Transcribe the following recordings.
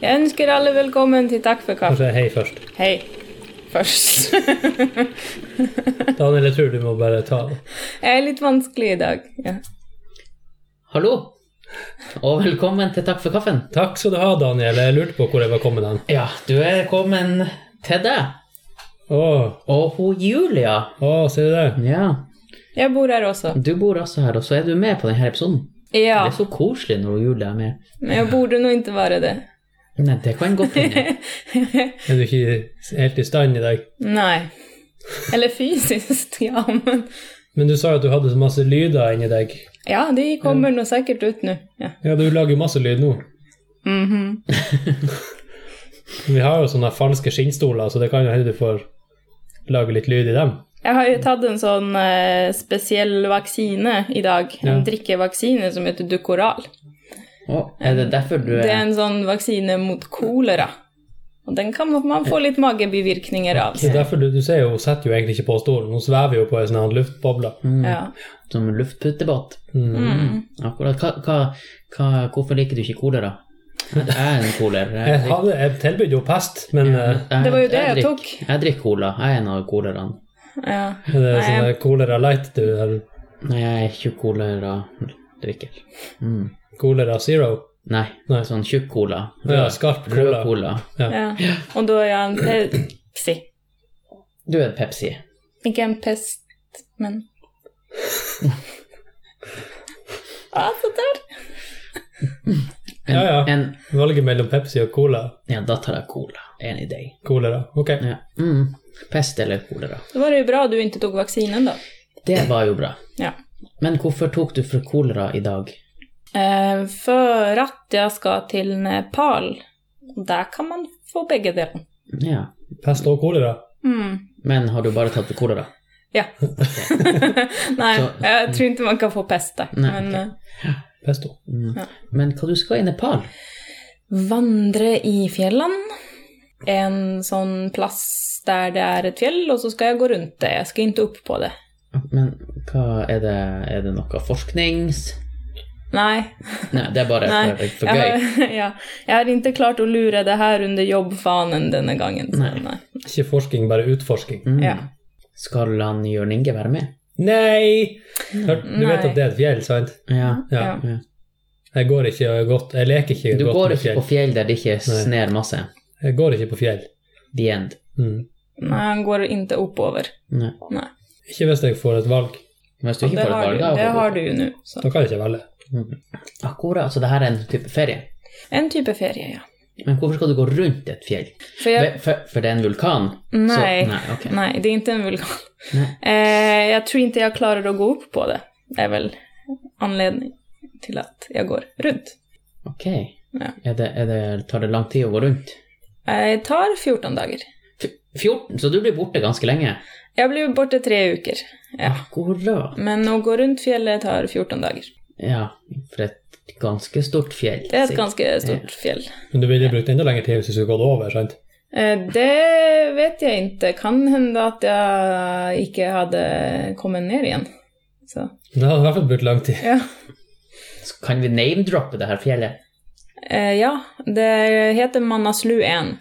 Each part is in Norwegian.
Jeg ønsker alle velkommen til Takk for kaffe. Kanskje hei først. Hei. Først. Daniel, jeg tror du må bare ta det. Jeg er litt vanskelig i dag. Ja. Hallo, og velkommen til Takk for kaffen. Takk skal du ha, Daniel. Jeg lurte på hvor jeg var kommet hen. Ja, du er kommet til deg. Å, Og hun Julia. å, ser du det? Ja, Jeg bor her også. du bor altså her, og så er du med på denne episoden. Ja, Det er så koselig når hun Julia er med. men jeg burde nå ikke være det. Nei, det kan godt hende. Er du ikke helt i stand i dag? Nei. Eller fysisk, ja, men Men du sa jo at du hadde så masse lyder inni deg. Ja, de kommer nå sikkert ut nå. Ja. Ja, du lager jo masse lyd nå. Mhm. Vi har jo sånne falske skinnstoler, så det kan jo hende du får lage litt lyd i dem. Jeg har jo tatt en sånn eh, spesiell vaksine i dag. En Ja. drikkevaksine som heter Dukoral. Å, er det derfor du Det er er en sånn vaksine mot kolera. Og den kan man få litt magebivirkninger av. Så derfor, du, du ser jo, hun setter jo egentlig ikke på stolen. Hun svever jo på ei sånn her luftboble. mm, Ja. som luftputtebåt? Mm. Mm. Akkurat. Hva, hva, hva, hvorfor liker du ikke kolera? Jeg er en koler. Jeg, hadde, jeg tilbød jo pest, men eh, Det var jo det jeg drikk- tok. Jeg drikker cola. Jeg er en av koleraene. Ja. er det Nei, sånn der kolera light du eller Nei, jeg er ikke kolera-drikker. Mm. Kolera zero? Nei, Nei. sånn tjukk cola. Ja, skarp Rød cola. cola. ja. Og da er jeg en Pepsi. Du er Pepsi. Ikke en pest, men Ah, så der. En, Ja, ja. En, Valget mellom Pepsi og Cola. ja, da tar jeg cola. Enig i deg. Kolera. Ok. Ja. Mm. Pest eller kolera. Da var det jo bra du ikke tok vaksinen, da. Det var jo bra. Ja. Men hvorfor tok du for kolera i dag? Eh, for at jeg skal til Nepal. Og Der kan man få begge deler. Ja. Pest og kolera. Mm. Men har du bare tatt for kolera? Ja. Nei, Så- jeg tror ikke man kan få pest der. Nei, Men ok. eh, Pesto. Mm. Ja. Men hva du skal i Nepal? vandre i fjellene. En sånn plass der det er et fjell, og så skal jeg gå rundt det. Jeg skal ikke opp på det. Men hva er det Er det noe forsknings...? Nei, Nei, det er bare Nei, for, for jeg gøy. har, ja, jeg har ikke klart å lure det her under jobbfanen denne gangen. Så, Nei. nei. Ikke forsking, bare utforsking. Mm. Ja. Skal han Jørn Inge være med? Nei! Mm. Hør, du vet Nei. at det er et fjell, sant? Ja. Ja. Ja. ja. Jeg går ikke godt Jeg leker ikke Du godt går med ikke på fjell. fjell der det ikke sner masse. Jeg går ikke på fjell. The end. Mm. Nei, han går ikke oppover. Nei. Nei. Ikke hvis jeg får et valg. Hvis du Og ikke det får har, valg du, av det har du jo nå. så. Da kan jeg ikke velge. Mm. Akkurat, så det her er en type ferie. En type ferie, ja. Men hvorfor skal du gå rundt et fjell? For jeg, Ve- For, for det er en vulkan? Nei. Så, nei, ok. nei, det er ikke en vulkan. Nei. Eh, jeg tror ikke jeg klarer å gå opp på det. Det er vel anledning til at jeg går rundt. Ok. Ja. Er det, er det, tar det lang tid å gå rundt? Jeg tar 14 dager. F- 14, så du blir borte ganske lenge? Jeg blir borte tre uker. Ja. Akkurat. Men å gå rundt fjellet tar 14 dager. Ja, for et ganske stort fjell. Det er et sikkert. ganske stort fjell. Men du ville brukt enda lengre tid hvis du skulle gått over, sant? Eh, Det vet jeg ikke. Kan hende at jeg ikke hadde kommet ned igjen. Så, Det hadde i hvert fall brukt lang tid. ja. Så Kan vi name-droppe det her fjellet? Eh, ja, det heter Mannaslu 1.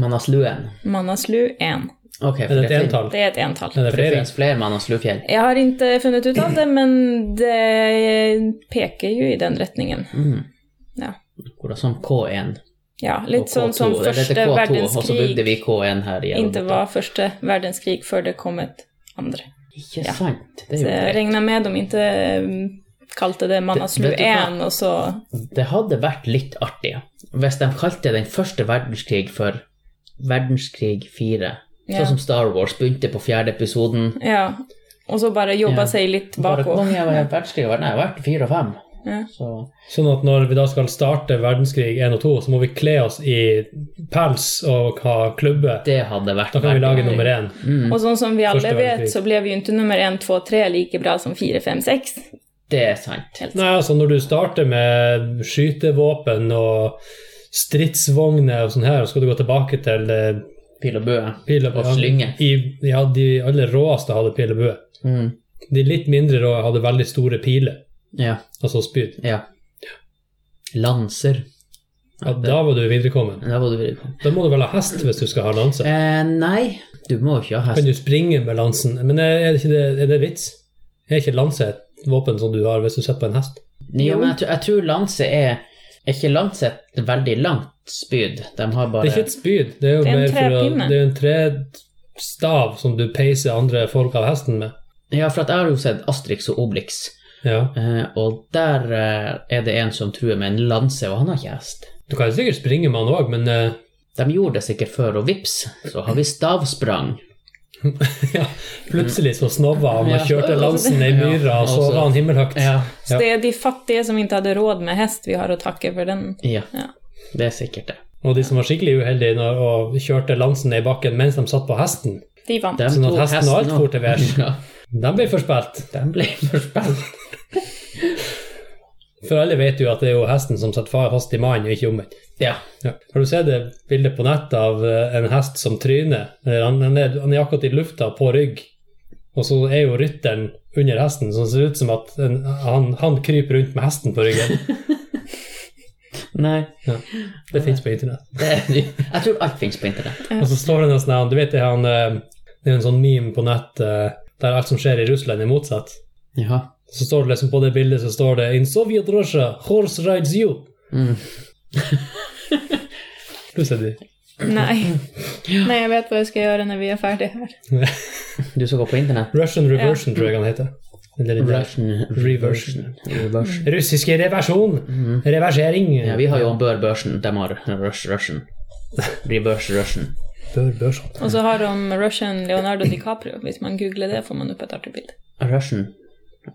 Mannasluen. Mannaslu 1. Ok, for Er det et fin- entall? Det er et entall. Er det For det flere? finnes flere Mannaslufjell. Jeg har ikke funnet ut av det, men det peker jo i den retningen. Mm. Ja. Akkurat som K1 Ja, og litt sånn K2. som Eller første altså, det er K2, og så bygde verdenskrig vi K1 her i ikke Europa. var første verdenskrig før det kom et andre. Ikke Ja. sant? Det, Så er jeg jo regner med de ikke mm, kalte det Mannaslu Vet du hva? 1, og så greit. det hadde vært litt artig hvis de kalte den første verdenskrig for verdenskrig 4. Ja. Sånn som Star Wars begynte på fjerde episoden. Ja, og så bare jobba Ja. seg litt Bare hvor bakover. mange er verdenskrig? Nei, det har vært fire og fem. Ja. Så Sånn at når vi da skal starte verdenskrig 1 og 2, så må vi kle oss i pels og ha klubbe. det hadde vært Da kan vi verdenskrig. lage nummer 1. Og sånn som vi alle Første vet, verdenskrig. så ble vi jo ikke nummer 1, 2, 3 like bra som 4, 5, 6. Det er sant. Nei, altså når du starter med skytevåpen og stridsvogner og sånn her, og skal du gå tilbake til eh, Pil og bue. pil og Og slynge. I, ja, de aller råeste hadde pil og bue. Mm. De litt mindre rå hadde veldig store piler, Ja. altså spyd. Ja. Lanser. Ja, da var du viderekommen. Da var du viderekommen. Da må du vel ha hest hvis du skal ha lanse. Eh, nei, du må ikke ha Kan hest. du springe med lansen? Men er det, ikke det, er det vits? Er ikke lanse et våpen som du har hvis du sitter på en hest? Jo, men jeg, tror- jeg tror lanse er Er ikke lanse et veldig langt spyd? De har bare Det er ikke et spyd, det er jo Det er en mer for å, trepinne. det er jo en trestav som du peiser andre folk av hesten med. Ja, for at jeg har jo sett Astrix og Obelix, Ja. eh, og der eh, er det en som truer med en lanse, og han har ikke hest. Du kan sikkert springe med han òg, men eh, De gjorde det sikkert før, og vips, så har vi stavsprang. ja, plutselig så snova han og Ja. altså. kjørte lansen i myra, og så Ja, altså- var han himmelhøyt. Så det er de fattige som ikke hadde råd med hest vi har å takke for den. ja. Ja. Det er sikkert det. Og de som var skikkelig uheldige når, og kjørte lansen ned i bakken mens de satt på hesten, De vant. De Sånn at tok hesten var alt og- for til værs. Ja, de ble forspilt. de ble forspilt. For alle vet jo at det er jo hesten som setter far fast i mannen, og ikke omvendt. Ja. Ja. Har du sett det bildet på nettet av eh, en hest som tryner? Eller Han, han, er, han er akkurat i lufta på rygg, og så er jo rytteren under hesten, så det ser ut som at en, han, han kryper rundt med hesten på ryggen. Nei. Det fins på internett. Det, jeg tror alt finnes på internett. Og så står det en sånn her, du vet det, han, eh, det er en sånn meme på nettet eh, der alt som skjer i Russland, er motsatt. Ja. Så står det liksom på det bildet så står det In Soviet Russia, horse rides you. Mm. Du ser det. Nei. Nei, jeg vet hva jeg skal gjøre når vi er ferdige her. Du skal gå på internett? Russian Reversion, tror jeg han heter. Eller det der. Russian Reversion. Reversion. Russiske reversjon! Mm. Reversering. Ja, vi har jo Bør Børsen. De har Rush Russian. Reverse Russian. Bør børsen. Og så har de Russian Leonardo DiCaprio. Hvis man googler det, får man opp et artig bilde. Russian.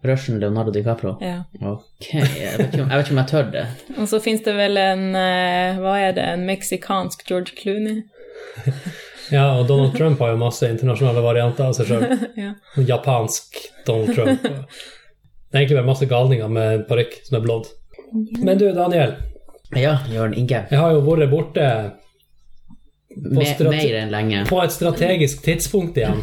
Russian Leonardo DiCaprio. Ja. Ok, jeg vet ikke om jeg, vet ikke om jeg tør det. Og så fins det vel en eh, Hva er det? En meksikansk George Clooney? Ja, og Donald Trump har jo masse internasjonale varianter av seg sjøl. Ja. Japansk Donald Trump. Det er egentlig bare masse galninger med parykk som er blond. Men du, Daniel. Ja, Jørn Inge. Jeg har jo vært borte Me, strate- mer enn lenge. på et strategisk tidspunkt igjen,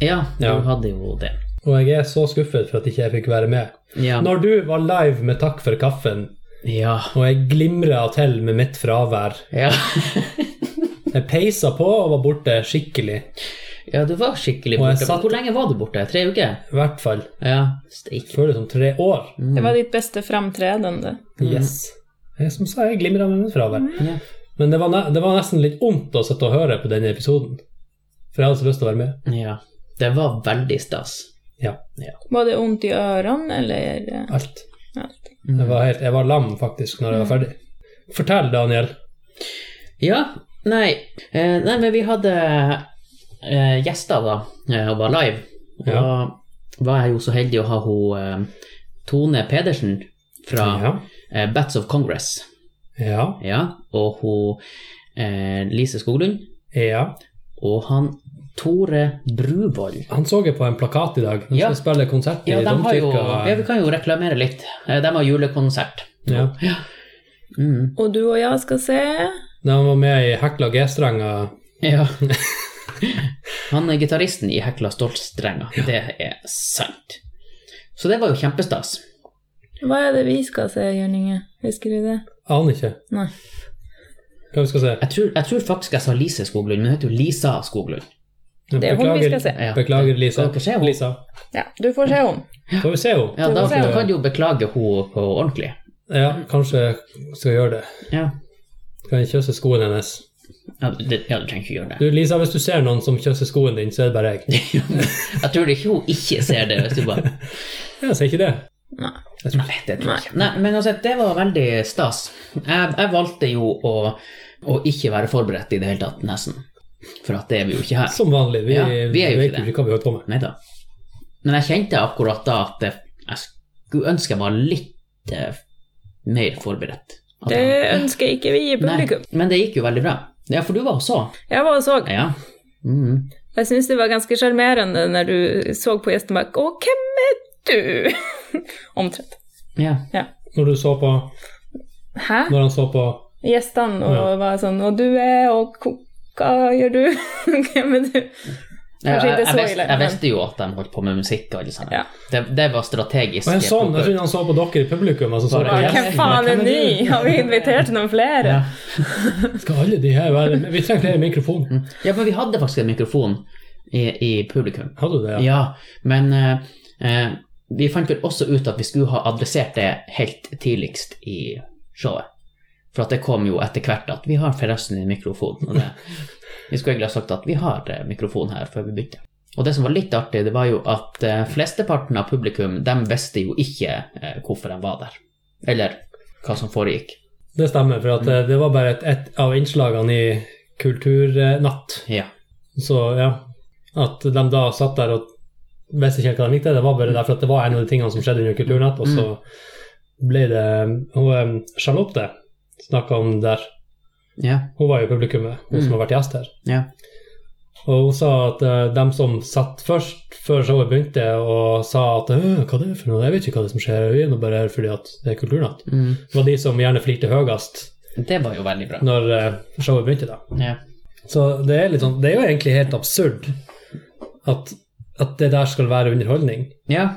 Ja, du Ja. hadde jo det. og jeg er så skuffet for at ikke jeg fikk være med. Ja. Når du var live med Takk for kaffen, Ja. og jeg glimra til med mitt fravær Ja. Jeg peisa på og var borte skikkelig, ja, du var skikkelig Og jeg borte. satt- Hvor lenge var du borte? Tre uker? i hvert fall. Ja. Steik. Mm. Føles som tre år. Det var ditt beste framtredende. Yes. Jeg, som sa, jeg glimra med mitt fravær. Ja. Men det var, ne det var nesten litt vondt å sitte og høre på denne episoden. For jeg hadde så lyst til å være med. ja. Det var veldig stas. Var det vondt i ørene, eller eh, Alt. alt? Jeg var, helt, jeg var lam, faktisk, når jeg Mm. var ferdig. Fortell, Daniel. Ja, nei, eh, nei men vi hadde eh, gjester da, eh, og var live. Og da var jeg jo så heldig å ha hun eh, Tone Pedersen fra Ja. eh, Bats of Congress. Ja. Ja, og hun eh, Lise Skoglund, ja. og han Tore Bruvoll. Han så jeg på en plakat i dag. Han Ja. skal spille konsert i Ja, de har jo, domkirka. ja, vi kan jo reklamere litt. Eh, De har julekonsert. Ja. Mm. Og du og jeg skal se Da han var med i Hekla G-strenger. Ja. Han er gitaristen i Hekla Stoltstrenga. Det er sant. Så det var jo kjempestas. Hva er det vi skal se, Jørn Inge? Husker du det? Aner ikke. Nei. Hva vi skal se? Jeg tror, jeg tror faktisk jeg sa Lise Skoglund, men hun heter jo Lisa Skoglund. Det er hun vi skal se. Ja. Beklager, Lisa. Kan dere se henne? Lisa. Ja, du får se henne. Får vi se henne? Ja, da Det var da kan du jo beklage henne på ordentlig. Ja, kanskje jeg skal gjøre det. Ja. Kan jeg kysse skoen hennes? Ja, det, ja, du trenger ikke gjøre det. Du, Lisa, hvis du ser noen som kysser skoen din, så er det bare jeg. Jeg tror ikke hun ikke ser det. hvis du bare... Jeg ser ikke det. Nei. Nei, det tror jeg ikke. Nei, men uansett, det var veldig stas. Jeg, jeg valgte jo å, å ikke være forberedt i det hele tatt, nesten. For at det er vi jo ikke her. Som vanlig. Vi, Ja, vi er jo vet ikke det. ikke hva vi holder på med. Nei da. Men jeg kjente akkurat da at jeg, jeg skulle ønske jeg var litt eh, mer forberedt. At Det jeg- ønsker ikke vi i Nei, publikum. men det gikk jo veldig bra. Ja, for du var og så. Jeg var og så. Ja. Mhm. Jeg syns det var ganske sjarmerende når du så på gjesten bak Å, hvem er du? Omtrent. ja. Når du så på Hæ? Når han så på Gjestene og Ja. var sånn Og du er, og hva gjør du? hvem er du? Kanskje jeg, ikke så jeg, visste, ille, jeg men- visste jo at de holdt på med musikk og alle sammen. Ja. Det, det var strategisk. Og en sånn, Jeg trodde han så på dere i publikum. Altså, så Bare bare, Ja, Hvem «Yes, faen er hvem ny? du?» Har vi invitert noen flere? Ja. Skal alle de her være med? Vi trenger flere mikrofoner. ja, men vi hadde faktisk en mikrofon i, i publikum. Hadde du det? Ja, men eh, eh, vi fant vel også ut at vi skulle ha adressert det helt tidligst i showet. For at det kom jo etter hvert at vi har forresten en mikrofon. Og det, vi skulle egentlig ha sagt at vi har eh, mikrofon her før vi begynte. Og det som var litt artig, det var jo at eh, flesteparten av publikum, de visste jo ikke eh, hvorfor de var der. Eller hva som foregikk. Det stemmer, for at eh, det var bare et, et av innslagene i Kulturnatt. Ja. Så ja, at de da satt der og visste ikke helt hva de likte, det var bare derfor at det var en av de tingene som skjedde under Kulturnatt, og så ble det hun, eh, Charlotte snakka om der. ja. Hun var jo publikummet, hun som har vært gjest her. Ja. Og hun sa at eh, dem som satt først før showet begynte og sa at «Øh, hva det er for noe, jeg vet ikke hva det er som skjer, vi er nå bare her fordi at det er kulturnatt. Mm. Det var de som gjerne flirte høyest Det var jo veldig bra. når eh, showet begynte, da. Ja. Så det er litt sånn, det er jo egentlig helt absurd at, at det der skal være underholdning. ja.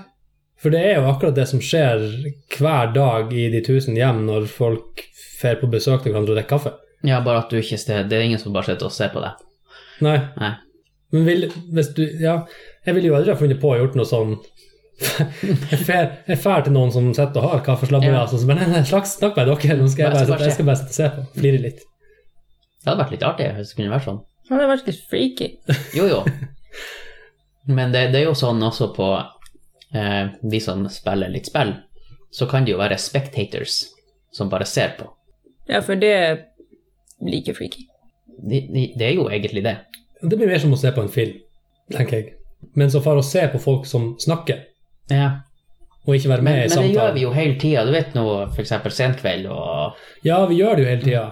For det er jo akkurat det som skjer hver dag i de tusen hjem når folk fer på besøk til hverandre og drikker kaffe. Ja, bare at du ikke ser Det er ingen som bare sitter og ser på deg. Nei, Nei. Men vil, hvis du, ja, jeg ville jo aldri ha funnet på å gjort noe sånn Jeg fer jeg fer til noen som sitter og har kaffeslabberas, Ja. og så bare nei, nei, slags, snakk med dere, nå skal jeg bare, Bare- sitte- jeg skal bare sitte og se på. Flire litt. Det hadde vært litt artig hvis det kunne vært sånn. Det hadde vært litt freaky. Jo, jo. Men det, det er jo sånn også på eh, de som spiller litt spill, så kan det jo være spectators som bare ser på. Ja, for det er like freaky. De, de, det er jo egentlig det. Det blir mer som å se på en film, tenker jeg. Men så for å se på folk som snakker, Ja. og ikke være Men, med i men det gjør samtalen vi jo hele tida. Du vet nå f.eks. senkveld og Ja, vi gjør det jo hele tida.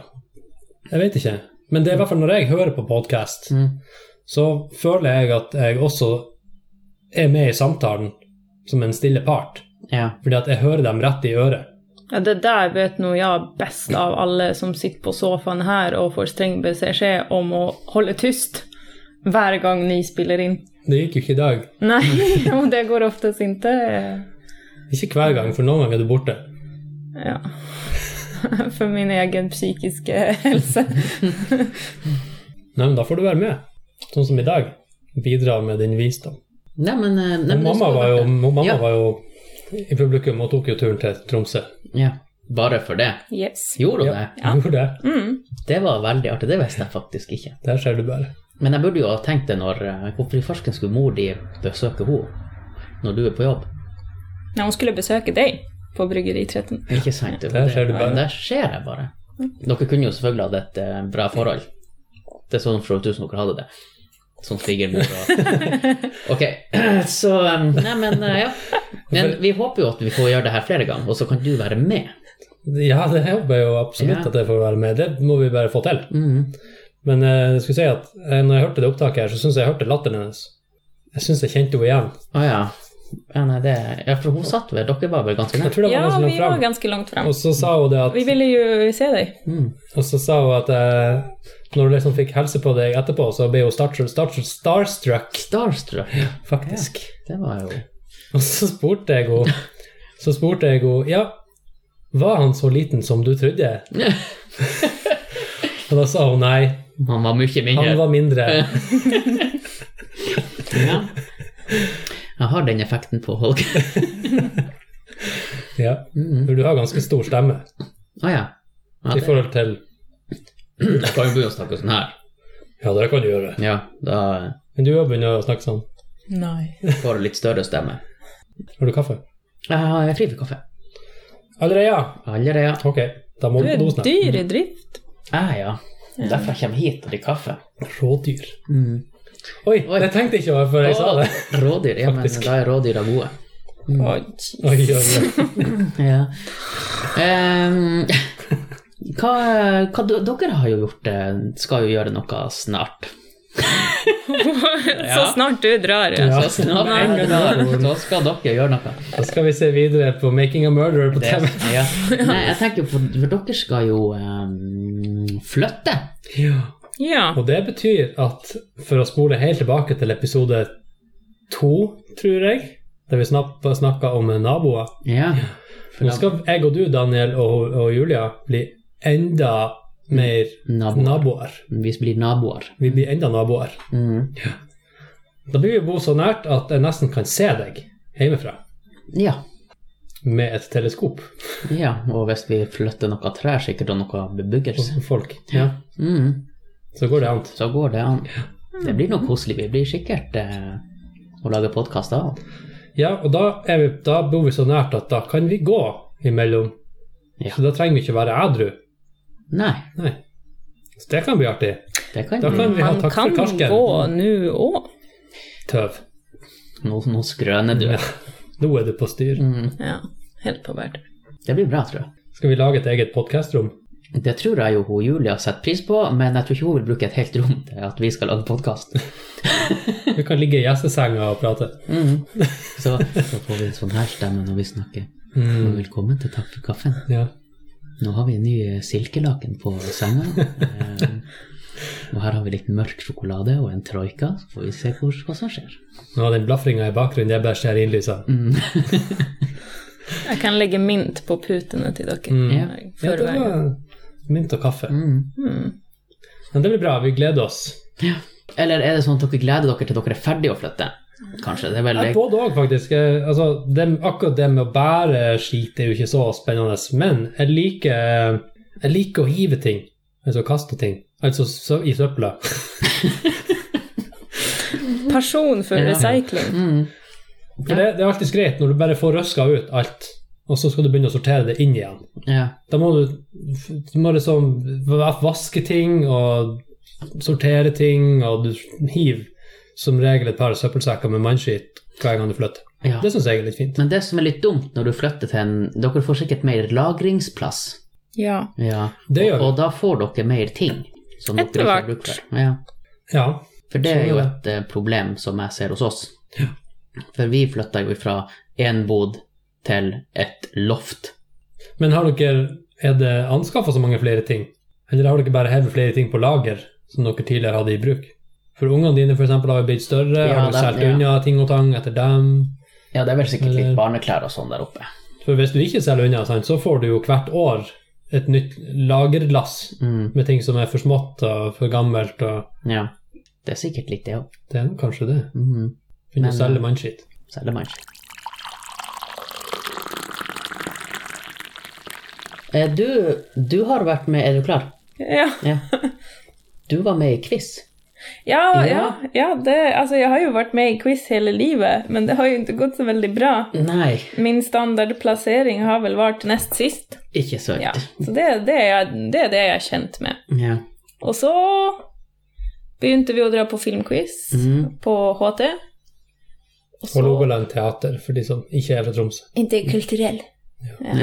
Jeg vet ikke. Men det er i hvert fall når jeg hører på podkast, Mm. så føler jeg at jeg også er med i samtalen som en stille part, Ja. fordi at jeg hører dem rett i øret. Ja, det der vet nå jeg best av alle som sitter på sofaen her og får streng beskjed om å holde tyst hver gang ni spiller inn. Det gikk jo ikke i dag. Nei, og det går oftest ikke. Ikke hver gang, for noen ganger er du borte. Ja. For min egen psykiske helse. Nei, men da får du være med. Sånn som i dag. Bidra med din visdom. Nei, men, eh, nei, Og men det mamma skulle var jo, vært og mamma Ja. var jo i publikum og tok jo turen til Tromsø. det. ja. Bare for det. Yes. Gjorde hun Ja, det? Ja. hun gjorde det. Mm. Det var veldig artig. Det visste jeg faktisk ikke. Der ser du bare. Men jeg burde jo ha tenkt det når eh, Hvorfor i farsken skulle mor di besøke henne når du er på jobb? Nei, hun skulle besøke deg på Bryggeri 13. Ikke sant? Det, Der ser du nei, bare. Der ser jeg bare. Dere kunne jo selvfølgelig hatt et eh, bra forhold. Det er sånn for tusen dere hadde det. Som svigermor og Ok, så um, Nei, men eh, ja. Men vi håper jo at vi får gjøre det her flere ganger, og så kan du være med. Ja, det håper jeg jo absolutt Ja. at jeg får være med. Det må vi bare få til. Mhm. Men eh, jeg skulle si at eh, når jeg hørte det opptaket her, så syns jeg jeg hørte latteren hennes. Jeg syns jeg kjente henne igjen. Å ja. ja. Nei, det Ja, for hun satt ved Dere var vel ganske Jeg nær? tror det var Ja, noen som vi langt var fram. ganske langt frem. Og så sa hun det at Vi ville jo se deg. Mm. Og så sa hun at eh, når hun liksom fikk helse på deg etterpå, så ble hun startru- startru- starstruck, Starstruck. faktisk. Det var jo Og så spurte jeg henne Så spurte jeg henne Ja, var han så liten som du trodde? Og da sa hun nei. Han var mye mindre. Han var mindre. Ja. Jeg har den effekten på Holger. Ja. For du har ganske stor stemme Å ja. ja i det, forhold til jeg kan jo begynne å snakke sånn her. Ja, det kan du gjøre. Ja, da Men du har begynt å snakke sånn. Nei. får du litt større stemme. Har du kaffe? Jeg har jeg er fri for kaffe. Allerede, ja. Allerede, ja. Ok, da må Du du er på do snart. dyr i drift. Ah, ja. Derfor jeg kommer hit og drikker kaffe. Rådyr. Oi, Oi. det tenkte jeg ikke over før jeg sa Å, det. Rådyr. Ja, men Faktisk. da er rådyra gode. Oi. Oi, oi, oi. Ja. Em, hva, hva d- Dere har jo gjort eh, Skal jo gjøre noe snart. Så snart du drar, ja. Ja. Så snart Nei, en dag, så skal dere gjøre noe. Da skal vi se videre på 'Making a Murderer' på Det, TV. ja. Nei, jeg tenker for, for dere skal jo em, ehm, flytte. Ja. Ja. Og det betyr at for å spole helt tilbake til episode to, tror jeg, der vi snakka om naboer Ja. Nå skal jeg og du, Daniel og, og Julia, bli enda mer Naboer. naboer. Vi blir naboer. Vi blir enda naboer. Mm. Da blir vi bo så nært at jeg nesten kan se deg hjemmefra Ja. med et teleskop ja. Og hvis vi flytter noe trær, sikkert, og noe bebyggelse, og folk. mm. Så går det an. så går det an. Det blir nok koselig. Vi blir sikkert eh, å lage podkast da. Ja, og da, er vi, da bor vi så nært at da kan vi gå imellom. Ja. Så da trenger vi ikke være ædru. Nei, Nei. Så det kan bli artig. det kan Da vi. kan vi ha Han takk Mm. kan for karsken. Mm. gå nå òg. Tøv. Nå, nå skrøner du. Ja. Nå er du på styr. Mm. Ja. Helt på bært. Det blir bra, tror jeg. Skal vi lage et eget podkastrom? Det tror jeg jo hun Julia setter pris på, men jeg tror ikke hun vil bruke et helt rom til at vi skal lage podkast. Vi kan ligge i gjestesenga og prate. Mm. Så, så får vi en sånn her stemme når vi snakker. Og Velkommen til Takk for kaffen. Ja. Nå har vi en ny eh, silkelaken på senga. Eh, og her har vi litt mørk sjokolade og en troika, så får vi se hvor, hva som skjer. Nå, den blafringa i bakgrunnen, det er bare stearinlysa. Jeg kan legge mynt på putene til dere. Ja. Mm. Ja, det Forveien. var mynt og kaffe. Mm. Mm. Men det blir bra, vi gleder oss. Eller er det sånn at dere gleder dere til dere er ferdige å flytte? Kanskje. Det er vel Ja, både òg, faktisk. Eh, Altså, det, akkurat det med å bære skit er jo ikke så spennende, men jeg liker, jeg liker å hive ting. Altså kaste ting. Altså sø i søpla. Pasjon for Ja. recycling. mm. For det, det er alltid greit når du bare får røska ut alt, og så skal du begynne å sortere det inn igjen. Ja. Da må du, du må liksom vaske ting og sortere ting, og du hiver som regel et par søppelsekker med mannskitt hver gang du flytter. ja. Det syns jeg er litt fint. Men det som er litt dumt når du flytter til en Dere får sikkert mer lagringsplass. Ja. Ja. Det gjør vi. Og, og da får dere mer ting. Som dere Etter ikke hvert. har bruk for. Ja. Ja. For det Så er jo det. et eh, problem som jeg ser hos oss. For vi flytta jo fra én bod til et loft. Men har dere, er det anskaffa så mange flere ting? Eller har dere bare hevet flere ting på lager som dere tidligere hadde i bruk? For ungene dine for eksempel, har jo blitt større, Ja, har du dem- solgt ja. unna ting og tang etter dem? Ja, det er vel sikkert Eller- litt barneklær og sånn der oppe. For hvis du ikke selger unna, sant, så får du jo hvert år et nytt lagerlass Mm, med ting som er for smått og for gammelt. og... ja. Det er sikkert litt det òg. Det er nok kanskje det. Mm, Begynne Men, å selge eh, mannskitt. selger man ikke. Eh, Du, du har vært med Er du klar? Ja. Ja. Du var med i quiz. Ja, Ja. ja, ja det, altså jeg har jo vært med i quiz hele livet, men det har ju inte gått så väldigt bra. Nei, Min standardplacering har väl varit näst sist. ikke søkt. Ja, så det, det, är, jag- det är det jag är känt med. Ja. Och så begynte vi att dra på filmquiz Mm. på HT. Och Og Logoland teater, for de som ikke er fra Tromsø. Inte är kulturell. Ja.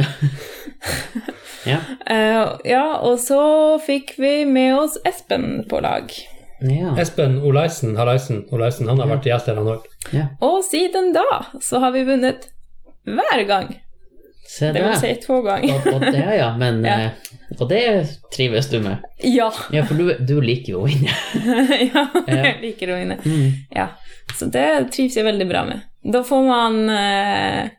Ja. Eh, ja, och så fick vi med oss Espen på lag. Ja. Espen Olaisen Hareisen Olaisen, han har vært gjest her, han òg. ja. Och sedan då så har vi vunnit varje gång. Se Det vill der. säga två gånger. Og, og det, ja. Men, Ja. eh, Og det trives du med. Ja. Ja, for du, du liker jo å vinne. ja, Ja. jeg liker å vinne. Ja. Så det trivs jeg veldig bra med. Da får man eh,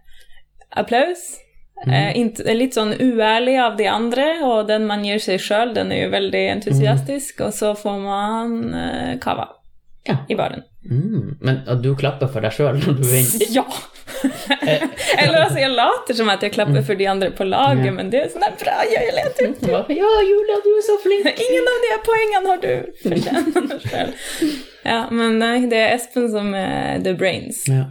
applaus. Eh, int- det er litt sånn uærlig av de andre, og den man gir seg sjøl, den er jo veldig entusiastisk, og så får man eh, cava Ja. i baren. Mm. Men og du klapper for deg sjøl når du vinner. Ja! Eh, Eller altså, jeg later som at jeg klapper for de andre på laget, Mm. Ja. men det er sånn der, bra, jeg leter ut. Ja, Julia, du er så flink! Ingen av de her poengene har du fortjent sjøl. Ja, men nei, det er Espen som er the brains. Ja.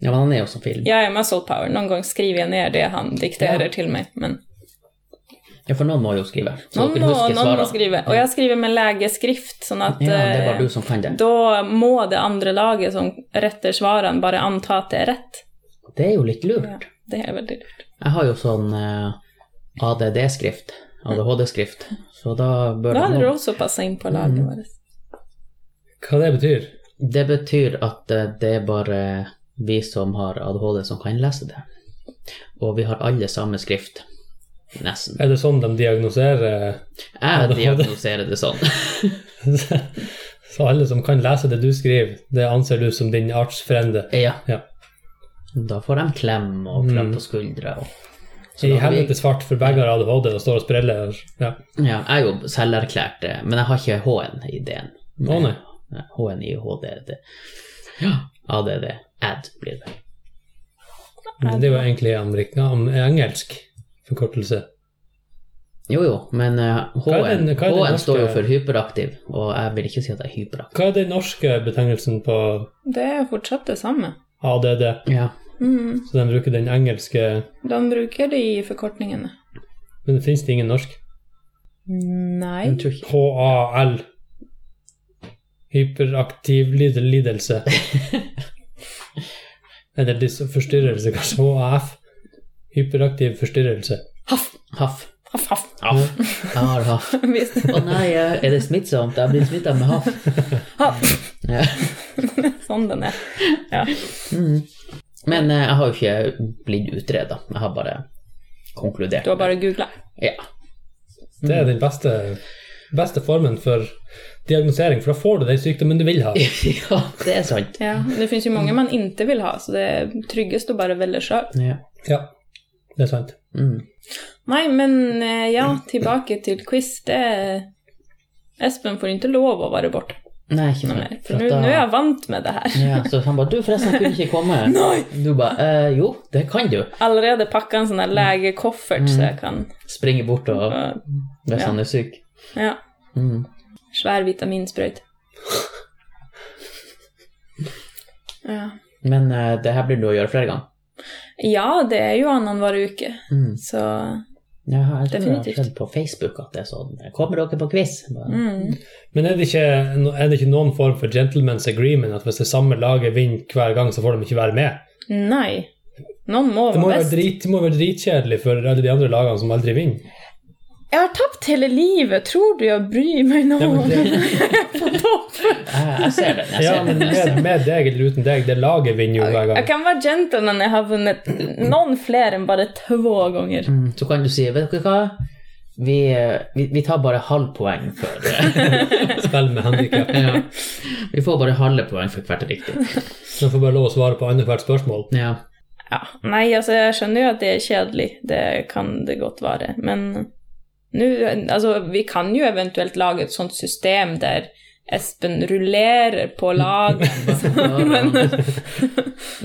ja, men han er jo så film. Jeg er muscle power. Noen gang skriver jeg ned det han dikterer Ja. til meg. Men Ja, for noen må jo skrive. Så noen dere må, husker noen må svarene. skrive. Og jeg skriver med legeskrift, sånn at Ja, det var eh, du som fant det. da må det andre laget som retter svarene, bare anta at det er rett. Det er jo litt Ja, lurt. det er veldig lurt. Jeg har jo sånn eh, ADD-skrift. ADHD-skrift. Så da Da bør det hadde du noen- også passa inn på laget Mhm. vårt. Hva det betyr? Det betyr at eh, det er bare vi som har ADHD, som kan lese det. Og vi har alle samme skrift. Nesten. Er det sånn de diagnoserer Jeg diagnoserer det sånn. Så alle som kan lese det du skriver, det anser du som din artsfrende. Ja. Ja. Mm. Da får de klem og klem på skuldra. og- Så I da har vi- helvete svart, for begge har ADHD og står og spreller. Ja. Ja, jeg er jo selverklært, eh, men jeg har ikke H-en i D-en. Å, nei. Nei, H-en i HD. det- Ja, ADD. Ad blir det. Men Det er jo egentlig amerika, am- engelsk forkortelse. Jo jo, men eh, Hva er den- H-en hva er den H-en står jo norske- for hyperaktiv, og jeg vil ikke si at jeg er hyperaktiv. Hva er den norske betegnelsen på Det er fortsatt det samme. ADD? Ja, Mm. Så de bruker den engelske De bruker de forkortningene. Men fins det ingen norsk? Nei. Mm. jeg tror ikke HAL. Hyperaktiv lid- lidelse. Eller dys- forstyrrelse, kanskje. HAF. Hyperaktiv forstyrrelse. Haff, Haff. haff, haff. Haff. Jeg har haff. Hvis Å nei, eh, er det smittsomt? Jeg blir smitta med haff. Haff. Ja. Sånn den er. Mm. Men eh, jeg har jo ikke blitt utreda. Jeg har bare konkludert. Du har bare googla. Ja. Det er den beste, beste formen for diagnosering, for da får du den sykdommen du vil ha. ja, det er sant. Ja. Det finnes jo mange man ikke vil ha, så det er tryggest å bare velge sjøl. Ja. Ja, det er sant. Mm. Nei, men eh, ja, tilbake til quiz. Det er Espen får ikke lov å være borte Nei, ikke noe sant. mer. For For nå at da- nå er jeg vant med det her. ja, Så han bare 'Du, forresten, jeg kunne ikke komme'. Nei! Du bare eh, 'Jo, det kan du'. Allerede pakka en sånn her legekoffert, så jeg kan Springe bort og og- hvis Ja. han er syk. Ja. Mm. Svær vitaminsprøyte. Ja. Men eh, det her blir det å gjøre flere ganger. ja, det er jo annenhver uke, Mm. så Ja, jeg tror jeg har Definitivt. sett på Facebook at det er sånn 'Kommer dere på quiz?' Bare, mm. Men er det, ikke, er det ikke noen form for gentleman's agreement at hvis det samme laget vinner hver gang, så får de ikke være med? Nei. Noen må Det må jo være være, best. drit, det må jo være dritkjedelig for alle de andre lagene som aldri vinner. Jeg har tapt hele livet, tror du jeg bryr meg nå? Ja, men På topp. jeg, jeg ser den. Jeg ser Ja, men den. Jeg ser med, den. med deg eller uten deg, det laget vinner jo hver Jeg gang. kan være gentleman, jeg har vunnet noen flere enn bare to ganger. Mm, så kan du si 'Vet dere hva'? Vi, eh, vi, vi tar bare halv poeng for Spill med handikap. ja. Vi får bare halve poeng for hvert riktig. De får bare lov å svare på annethvert spørsmål. Ja. Ja. Nei, altså, jeg skjønner jo at det er kjedelig, det kan det godt være, men nå Altså, vi kan jo eventuelt lage et sånt system der Espen rullerer på lag. Men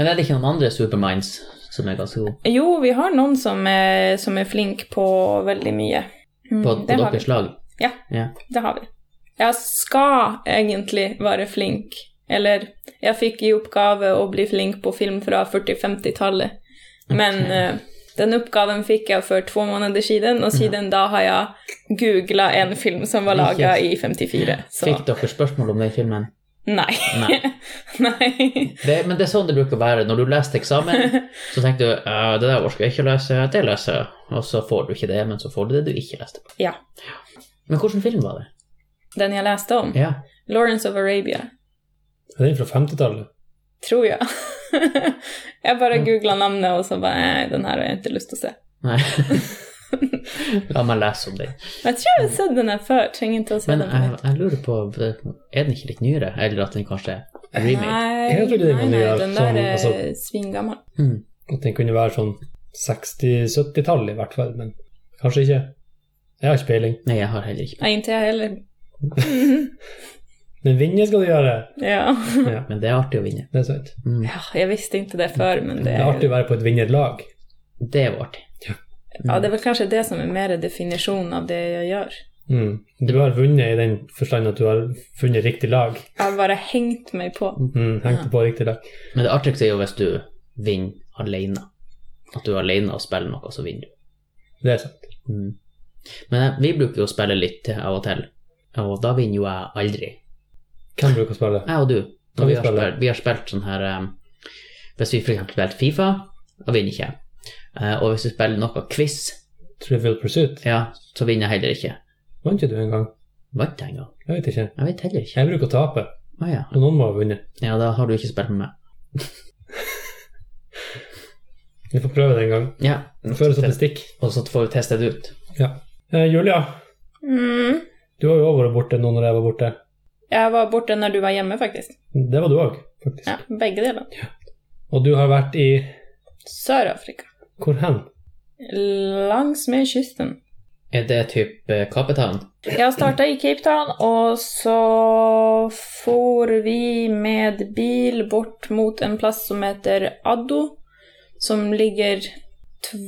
er det ikke noen andre Superminds som er ganske gode Jo, vi har noen som er, som er flink på veldig mye. Mm, på, på det har vi. deres lag? Ja. ja. Det har vi. Jeg skal egentlig være flink. Eller jeg fikk i oppgave å bli flink på film fra 40-50-tallet. Men eh, den oppgaven fikk jeg for to måneder siden, og siden da har jeg googla en film som var laga i 54. Så Fikk dere spørsmål om den filmen? nei. Nei. nei. Det, men det er sånn det bruker å være. Når du leser til eksamen, så tenker du «Ja, det der orker jeg ikke å lese, det leser jeg. Og så får du ikke det, men så får du det du ikke leste på. Ja. Men hvilken film var det? Den jeg leste om. Ja. Lawrence of Arabia, Er den fra 50-tallet? tror jeg. jeg bare googla navnet, og så bare Nei, den her har jeg ikke lyst til å se. Nei. La meg lese om den. Jeg tror jeg har sett den her før. Trenger ikke å se Men den på jeg, nytt. jeg lurer på, er den ikke litt nyere? Eller at den kanskje er remade? Nei, Jeg trodde den var nei, nei, nyere, den sånn, der eh, er altså- svingammel. Hmm. At den kunne være sånn 60-70-tall i hvert fall, men kanskje ikke. Jeg har ikke peiling. Nei, jeg har heller ikke. Nei, ikke jeg heller. Men vinne skal du gjøre. Ja. Ja, Men det er artig å vinne. det er sant. Mm. ja, jeg visste ikke det før, men Det det er er, artig å være på et vinnerlag. Det var artig. Hmm. ja, det er vel kanskje det som er mer definisjonen av det jeg gjør. Mm. Du har vunnet i den forstand at du har funnet riktig lag. Jeg har bare hengt meg på. Mm, hengte på riktig lag. Men det artigste er jo hvis du vinner alene. At du er alene og spiller noe, så vinner du. Det er sant. Mm. Men eh, vi bruker jo å spille litt til av og til, og da vinner jo jeg aldri. Hvem bruker å spille? Jeg og du. Kan vi Når vi, har spille? spilt, vi har spilt sånn her eh, Hvis vi for eksempel spilte Fifa, da vinner ikke jeg. Eh, og hvis vi spiller noe quiz, Trivial Pursuit? ja, så vinner jeg heller ikke. Vant ikke du en gang? Vant jeg engang? Jeg vet ikke. Jeg vet heller ikke. Jeg bruker å tape, Å ja. og noen må ha vunnet. ja, da har du ikke spilt med meg. Vi får prøve det en gang. Ja. Føre statistikk. Og så får vi testet det ut. Eh, Julia, Mm. du har jo også vært borte nå når jeg var borte. Jeg var borte når du var hjemme, faktisk. Det var du òg, faktisk. Ja, Begge deler. Og du har vært i Sør-Afrika. Hvor hen? Langs med kysten. Er det eh, type Kapetown? Jeg starta i Cape Town, og så for vi med bil bort mot en plass som heter Addo, som ligger to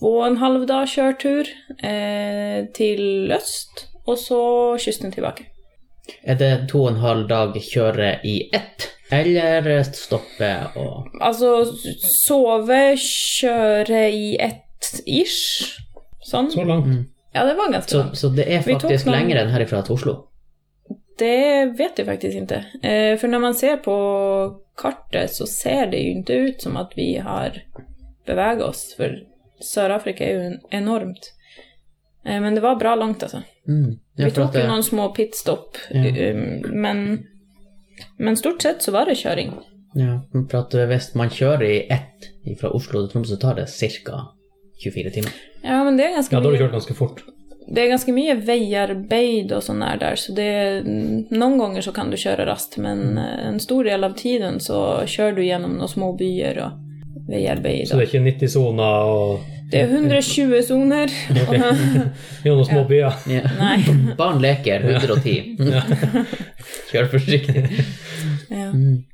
og en halv dag kjørtur eh, til øst, og så kysten tilbake. Er det to og en halv dag kjøre i ett? Eller stoppe og Altså sove, kjøre i ett ish. Sånn. Så langt? Mm. Ja, det var ganske Så, langt. så det er Vi tok faktisk noen- lenger enn herifra til Oslo? Det vet jeg faktisk ikke. Eh, For når man ser på kartet, så ser det jo ikke ut som at vi har beveget oss, for Sør-Afrika er jo en- enormt. Eh, Men det var bra langt, altså. Mm. Ja, Vi for tok at det- jo noen små pitstop, Ja. um, men, men stort sett så var det kjøring. Ja, for at hvis man kjører i ett fra Oslo til Tromsø, tar det ca. 24 timer. Ja, men det er ganske Ja, da har du mye kjørt ganske fort. Det er ganske mye veiarbeid og sånn her der, så det Noen ganger så kan du kjøre raskt, men eh, en stor del av tiden så kjører du gjennom noen små byer og veiarbeid. Så det Og. er ikke 90-soner og Det er 120 soner. og- i noen små byer. Ja. Nei. Barn leker 110. Kjør forsiktig. Ja. Mm.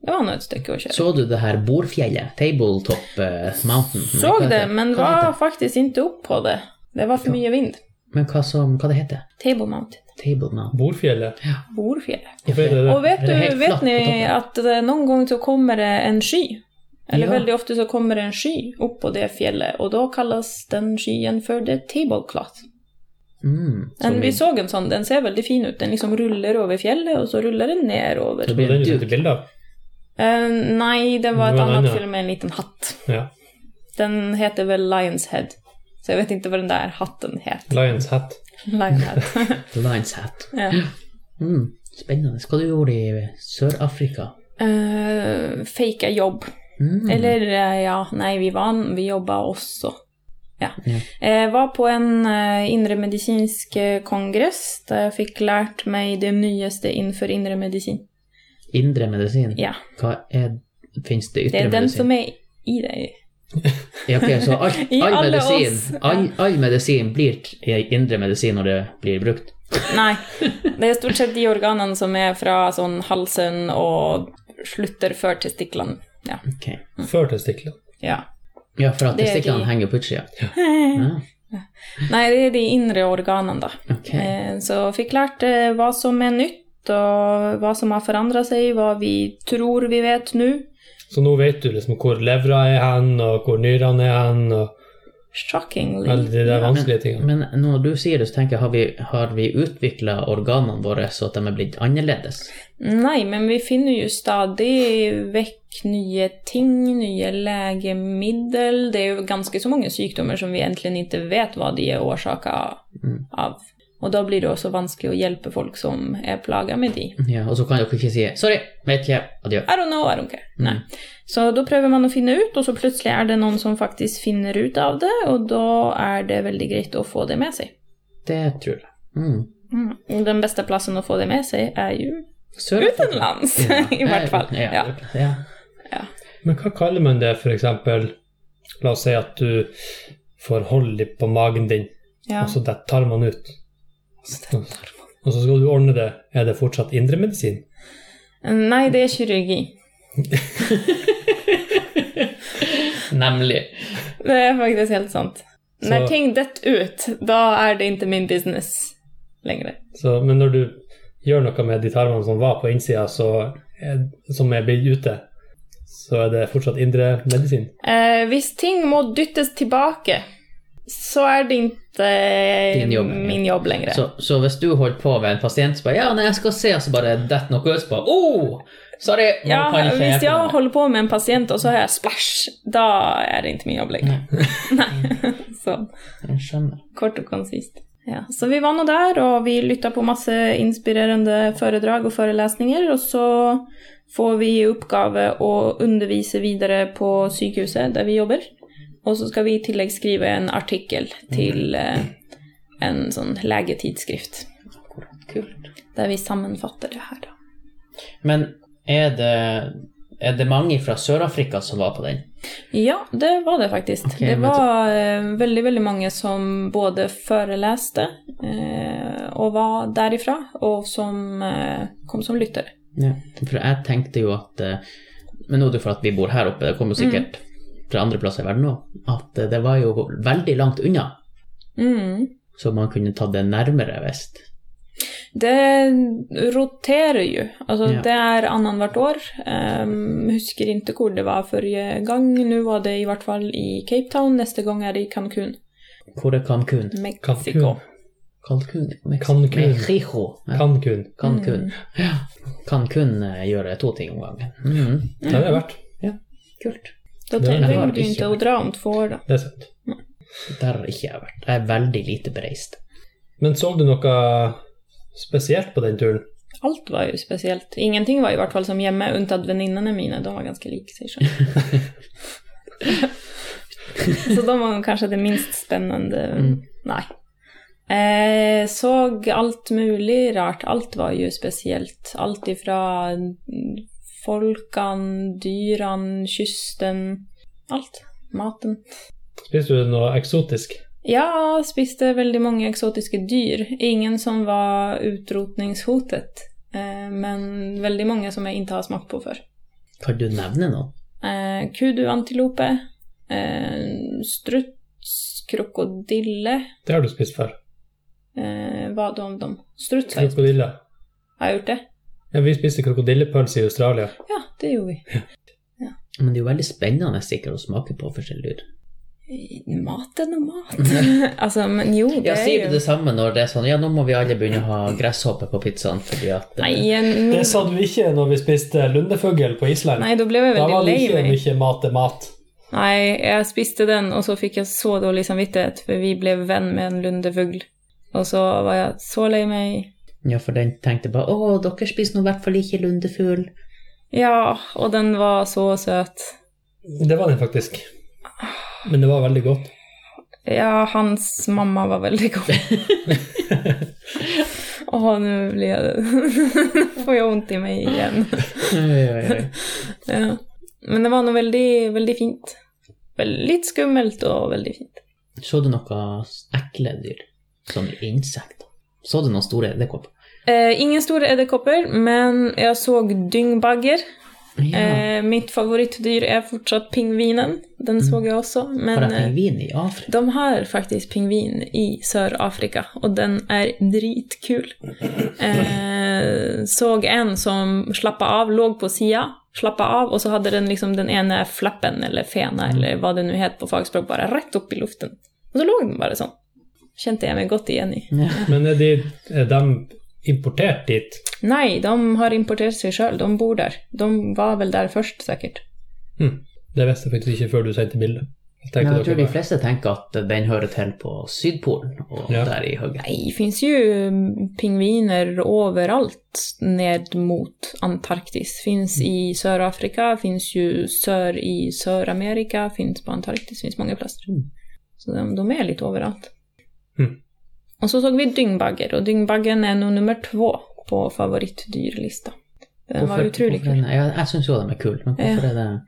Det var nå et stykke å kjøre. Så du det her Bordfjellet? Tabletop eh, Mountain? Nei, Så hva det, heter men hva var heter faktisk ikke opp på det. Det var for mye vind. Men hva, som, hva det heter Table Mountain. Table Mountain. Borfjellet. Borfjellet. Hvorfor er det Og det? vet, Det du, er helt vet flatt på ni toppen. at eh, noen ganger så kommer det en sky? Eller Ja. veldig ofte så kommer det en sky opp på det fjellet, og da kalles den skyen for the tablecloth. Men Mm. som vi i- så en sånn, den ser veldig fin ut. Den liksom ruller over fjellet, og så ruller den nedover. Det var den du sendte bilde av? Eh, nei, det var et Det var annet en annen. film med en liten hatt. Ja. Den heter vel Lion's Head. Så jeg vet ikke hva den der hatten het. Lions Hat. Lion's Head. Lions Hat. ja. Mm. Spennende. Hva du gjorde i Sør-Afrika? Eh, fake a jobb. Mm. Eller eh, ja, nei, vi var Vi jobba også. Ja. Ja. Jeg var på en eh, indremedisinsk eh, kongress der jeg fikk lært meg det nyeste innenfor indremedisin. Indre medisin? Ja. Hva er Fins det Det ytre er den medisin? som er i deg. Ja, ok, så all, I all, alle oss. medisin, all, all medisin blir t- indre medisin når det blir brukt. Nei. Det er stort sett de organene som er fra sånn halsen og slutter før testiklene. Ja. Ok. Før testiklene. ja. Ja, for at Det er testiklene de- henger på utsida. Nei, Ja, det er de indre organene, da. Ah, ok. Eh, Så fikk lært eh, hva som er nytt, og hva som har forandra seg, hva vi tror vi vet nå. Så nå vet du liksom hvor levra er hen, og hvor nyrene er hen, og Shockingly. alle de der vanskelige tingene. Men når du sier det, så tenker jeg har vi, har vi utvikla organene våre så at de er blitt annerledes? Nei, men vi finner jo stadig vekk nye ting, nye legemiddel. Det er jo ganske så mange sykdommer som vi egentlig ikke vet hva de er årsaka Mm. av. Og da blir det også vanskelig å hjelpe folk som er plaga med de. Ja, og så kan dere ikke si 'sorry, vet ikke, adjø'. I don't know, I don't care. Nei. Mm. Så da prøver man å finne ut, og så plutselig er det noen som faktisk finner ut av det, og da er det veldig greit å få det med seg. Det tror jeg. Mm. Og Den beste plassen å få det med seg er jo Sør-Afrika. utenlands, Ja. i hvert fall. Ja. Ja. ja. Men hva kaller man det, for eksempel? La oss si at du får hold i på magen din, Ja. og så detter tarmene ut. Og så skal du ordne det. Er det fortsatt indremedisin? Nei, det er kirurgi. Nemlig. Det er faktisk helt sant. Så- Når ting detter ut, da er det ikke min business lenger. Så- Men når du gjør noe med de tarmene som var på innsida, så er, som er blitt ute, så er det fortsatt indremedisin. Eh, hvis ting må dyttes tilbake, så er det ikke Din jobb, ja. min jobb lenger. Så, så hvis du holder på med en pasient som bare 'ja, nei, jeg skal se', og så bare detter noe ut på 'oh, sorry'. nå Ja, kan ikke hvis jeg hjelpe deg». holder på med en pasient, og så har jeg splæsj, da er det ikke min jobb lenger. Nei. så Jeg skjønner. kort og konsist. Ja, så vi var nå der, og vi lytta på masse inspirerende foredrag og forelesninger, og så får vi i oppgave å undervise videre på sykehuset der vi jobber. Og så skal vi i tillegg skrive en artikkel til eh, en sånn legetidsskrift. Kult. Der vi sammenfatter det her. da. Men er det, er det mange fra Sør-Afrika som var på den? Ja, det var det faktisk. Ok, det men- var eh, veldig, veldig mange som både foreleste eh, og var derifra, og som eh, kom som lyttere. Ja. For jeg tenkte jo at eh, Men nå er det for at vi bor her oppe, det kommer jo sikkert fra andre plasser i verden òg, at eh, det var jo veldig langt unna, Mm. så man kunne tatt det nærmere vest. Det roterer jo. Altså, Ja. Det er annethvert år. Um, husker ikke hvor det var forrige gang. Nå var det i hvert fall i Cape Town. Neste gang er det i Cancún, Hvor er Cancún? Mexico. Cancún? Mm. Cancún. Mexico. Ja, Cancún. Cancún. Ja. Cancún eh, gjør to ting om gangen. Mhm. Det har jeg vært. Kult. Da Det trenger var du ikke ikke å dra om to år, da. Det er sant. Der har ikke jeg vært. Jeg er veldig lite bereist. Men så du noe spesielt på den turen? Alt var jo spesielt. Ingenting var i hvert fall som hjemme, unntatt venninnene mine. De var ganske like seg selv. Så de var kanskje det minst spennende. Mm. Nei. Eh, så alt mulig rart. Alt var jo spesielt. Alt ifra folkene, dyrene, kysten Alt. Maten. Spiste du noe eksotisk? Ja, spiste veldig mange eksotiske dyr. Ingen som var utrotningshotet, eh, men veldig mange som jeg ikke har smakt på før. Kan du nevne noe? Eh, Kuduantilope, eh, struts, krokodille Det har du spist før. eh, Hva da om dem? Struts har jeg spist. Krokodille. Har jeg gjort det? Ja, vi spiste krokodillepølse i Australia. Ja, det gjorde vi. Men det er jo veldig spennende sikkert å smake på forskjellige dyr. Eh, Mat er noe mat. altså, men jo, det Ja, er sier jo du det samme når det er sånn Ja, nå må vi alle begynne å ha gresshoppe på pizzaen fordi at eh, Nei, en- Det sa du ikke når vi spiste lundefugl på Island. Mm. Nei, da ble jeg da veldig var det lei ikke meg. mye mat til mat. Nei, jeg spiste den, og så fikk jeg så dårlig samvittighet, for vi ble venn med en lundefugl. Og så var jeg så lei meg. Ja, for den tenkte bare Å, dere spiser nå i hvert fall ikke lundefugl. Ja, og den var så søt. Det var den faktisk. Men det var veldig godt. Ja, hans mamma var veldig god. Åh, nå blir jeg Nå får jeg vondt i meg igjen. Oi, oi, oi. Ja. Men det var noe veldig, veldig fint. Vel, litt skummelt og veldig fint. Så du noen ekle dyr? Sånn insekter? Så du noen store edderkopper? Eh, ingen store edderkopper, men jeg så dyngbagger. Ja. Eh, mitt favorittdyr er fortsatt pingvinen. Den så jeg også. Men Har jeg eh, Mm. pingvin i Afrika? de har faktisk pingvin i Sør-Afrika, og den er dritkul. Eh, såg en som slappa av, lå på sida, slappa av, og så hadde den liksom den ene flappen, eller Mm. fena, eller hva det nå het på fagspråk, bare rett opp i luften. Og så lå den bare sånn. Kjente jeg meg godt igjen i. Men er de, er de importert dit? Nei, de har importert seg sjøl, de bor der. De var vel der først, sikkert. Hm. Det visste jeg faktisk ikke før du sendte bildet. Jeg Nei, tenkte jeg tror de dere bare, fleste tenker at den hører til på Sydpolen og Ja. der i høyden. Nei, det finnes jo pingviner overalt ned mot Antarktis. Finnes i Sør-Afrika, finnes jo sør i Sør-Amerika, finnes på Antarktis, finnes mange plasser. Mm. Så de, de er litt overalt. Mm. Og så så vi dyngbagger, og dyngbaggen er nå nummer to på favorittdyrlista. Den var utrolig hvorfor er kul. den- Ja, jeg syns jo de er kule, men hvorfor er det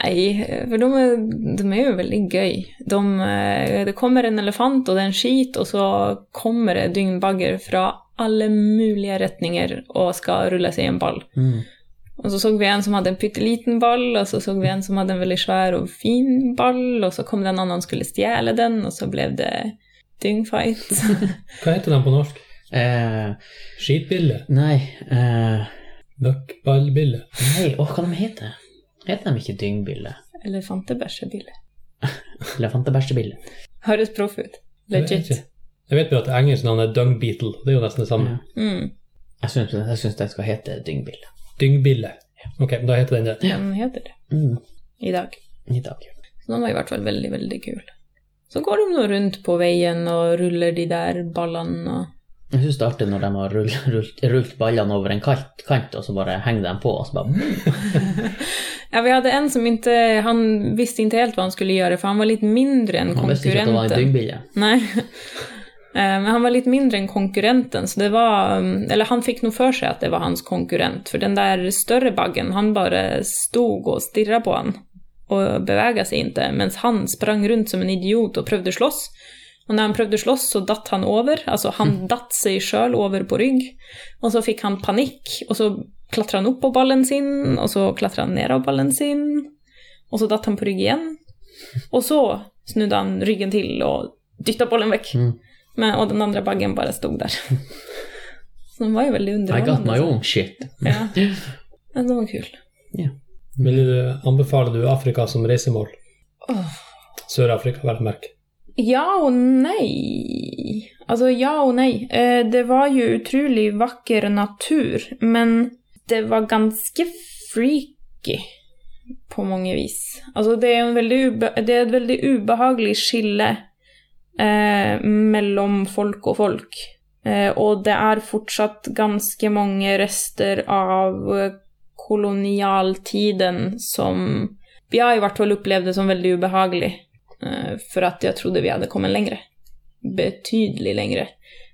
Nei, for de er, de er jo veldig gøy. De, eh, det kommer en elefant, og det er en skit, og så kommer det dyngbagger fra alle mulige retninger og skal rulle seg i en ball. mm. Og så så vi en som hadde en pytte liten ball, og så så vi en som hadde en veldig svær og fin ball, og så kom det en annen og skulle stjele den, og så ble det dyngfight. Hva heter de på norsk? eh, Skitbille? Nei eh, Møkkballbille? Nei, åh, hva de heter Heter de ikke dyngbille? Elefantebæsjebille. Elefantebæsjebille? Høres proff ut. Jeg vet Legit. ikke. Jeg vet bare at engelsk navn er dung beetle. Det er jo nesten det samme. Ja. Mm. Jeg syns, jeg syns den skal hete dyngbille. Dyngbille. Ok, men da heter den det. Den heter det Mm. i dag. I dag. Så de var i hvert fall veldig, veldig kul. Så går de nå rundt på veien og ruller de der ballene og Jeg syns det er artig når de har rull, Mm. rull, rullet ballene over en kant, kant og så bare henger de på. Og så bare, Ja, vi hade en som inte, han visste inte helt vad han skulle göra för han var lite mindre än Han visste ikke at det var en konkurrenten. dyngbille. Nej. Eh, Men han var lite mindre än konkurrenten, så det var um, Eller han fick nog för sig att det var hans konkurrent, för den där större baggen, han bara stod och stirrade på han och bevägade sig inte, medan han sprang runt som en idiot och prövde slåss. Och när han prövde slåss så datt han över, alltså han datt sig själv över på rygg. Och så fick han panik, och så klättrade han upp på ballen sin, och så klättrade han ner av ballen sin, och så datt han på rygg igen. Och så snudde han ryggen till och dyttade bollen väck. Mm. Men, och den andra baggen bara stod där. Så den var ju veldig I got my underholdende. altså. own shit. Ja. Men den var kul. Vil du anbefale du Afrika som reisemål? Åh. Sør-Afrika, vel å merke. Ja och nej. Alltså ja och nej. Eh, det var ju otroligt vacker natur, men det var ganska freaky på många vis. Alltså det är, en väldigt ube- det är ett väldigt obehagligt skille eh, mellan folk och folk. Eh, och det är fortsatt ganska många rester av eh, kolonialtiden som jag i vart fall upplevde som väldigt obehaglig. Eh, för att jag trodde vi hade kommit längre. Betydligt längre.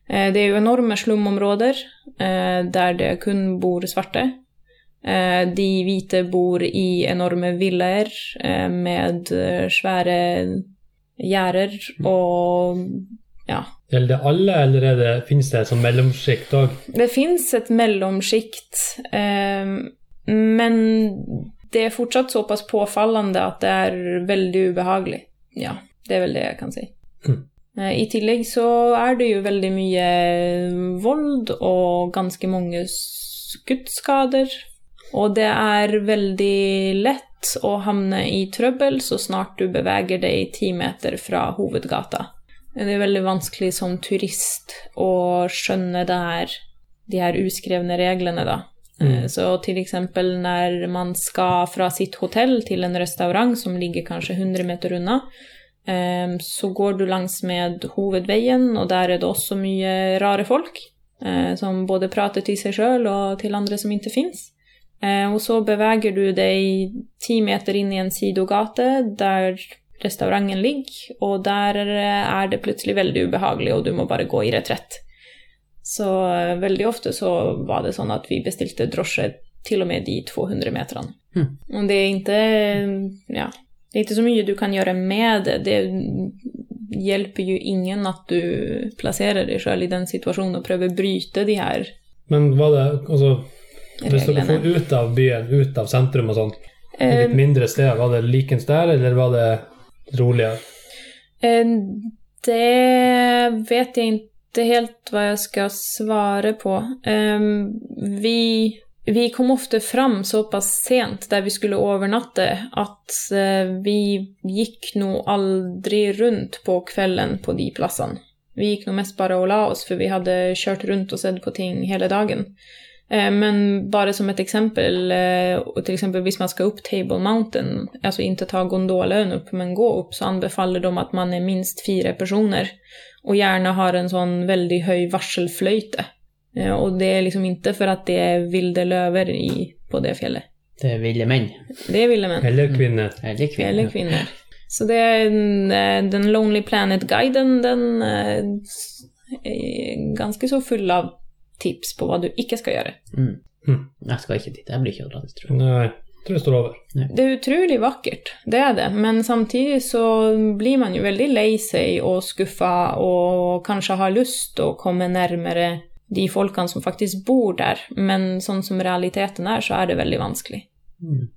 Eh, Det är ju enorma slumområden eh, där det kun bor svarta. Eh, De vita bor i enorma villor eh, med eh, svära gärder och ja, Gjelder det alle, eller er det, finnes det som mellomsjikt òg? det finns ett mellanskikt, ehm, men det är fortsatt så pass påfallande att det är väldigt obehagligt. Ja, det är väl det jag kan säga. Mm. Eh, I tillägg så är det ju väldigt mycket våld och ganska många skuttskador. Och det är väldigt lätt att hamna i trubbel så snart du beväger dig 10 meter från huvudgatan. Det är väldigt vanskelig som turist å skjønne det her, de her uskrevne reglene, da. Mm. Eh, Så till exempel när man ska från sitt hotell till en restaurang som ligger kanske 100 meter undan, eh, så går du langs med huvudvägen och där är det också mycket rare folk eh, som både pratar till sig själv och till andra som inte finns. Eh, Och så beväger du dig 10 meter in i en sidogate där restaurangen ligger, och där är det plötsligt väldigt obehagligt och du måste bara gå i retrett. Så eh, väldigt ofta så var det sånn att vi bestilte drosje till och med de 200 metrene. Mm. Och det är inte, ja, det är inte så mycket du kan göra med det. Det hjälper ju ingen att du placerar dig själv i den situationen och prövar bryta de här Men var det altså, Hvis dere reglerna. for ut av byen, ut av sentrum og sånn, i Eh, litt mindre steder, var det likens der, eller var det roligere? Eh, Det vet jag inte helt vad jag ska svara på. Eh, Vi, vi kom ofta fram så pass sent där vi skulle övernatta att eh, vi gick nog aldrig runt på kvällen på de platserna. Vi gick nog mest bara och la oss för vi hade kört runt och sett på ting hela dagen. Eh, Men bara som ett exempel, eh, och till exempel om man ska upp Table Mountain, altså alltså inte ta gondolen upp men gå upp, så anbefaller de att man är minst fyra personer och gärna har en sånn sån väldigt hög varselflöjte. Eh, Och det är liksom inte för att det är vilda löver i, på det fjället. Det er ville menn. Det är vilda män. Eller kvinner? Eller kvinner. Eller kvinnor. Så det är en, eh, den Lonely Planet-guiden, den eh, är ganska så full av tips på vad du ikke ska göra. Mm. Mm. Jeg skal ikke dit. Jeg blir ikke dratt, tror jeg. Nei, tror jeg står over. Det är otroligt vackert, det är det. Men samtidigt så blir man ju väldigt lej sig och skuffa och kanske har lust att komma närmare de folkan som faktiskt bor där. Men sånn som realiteten är så är det väldigt vanskligt. Mm.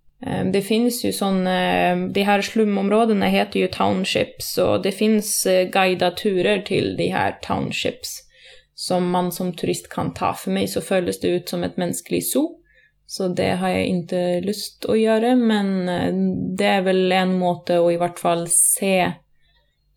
Eh, Det finns ju sådana, eh, de här slumområdena heter ju townships och det finns eh, guidade turer till de här townships som man som turist kan ta. För mig så följdes det ut som ett mänskligt zoo. Så det har jag inte lust att göra, men eh, det är väl en måte att i vart fall se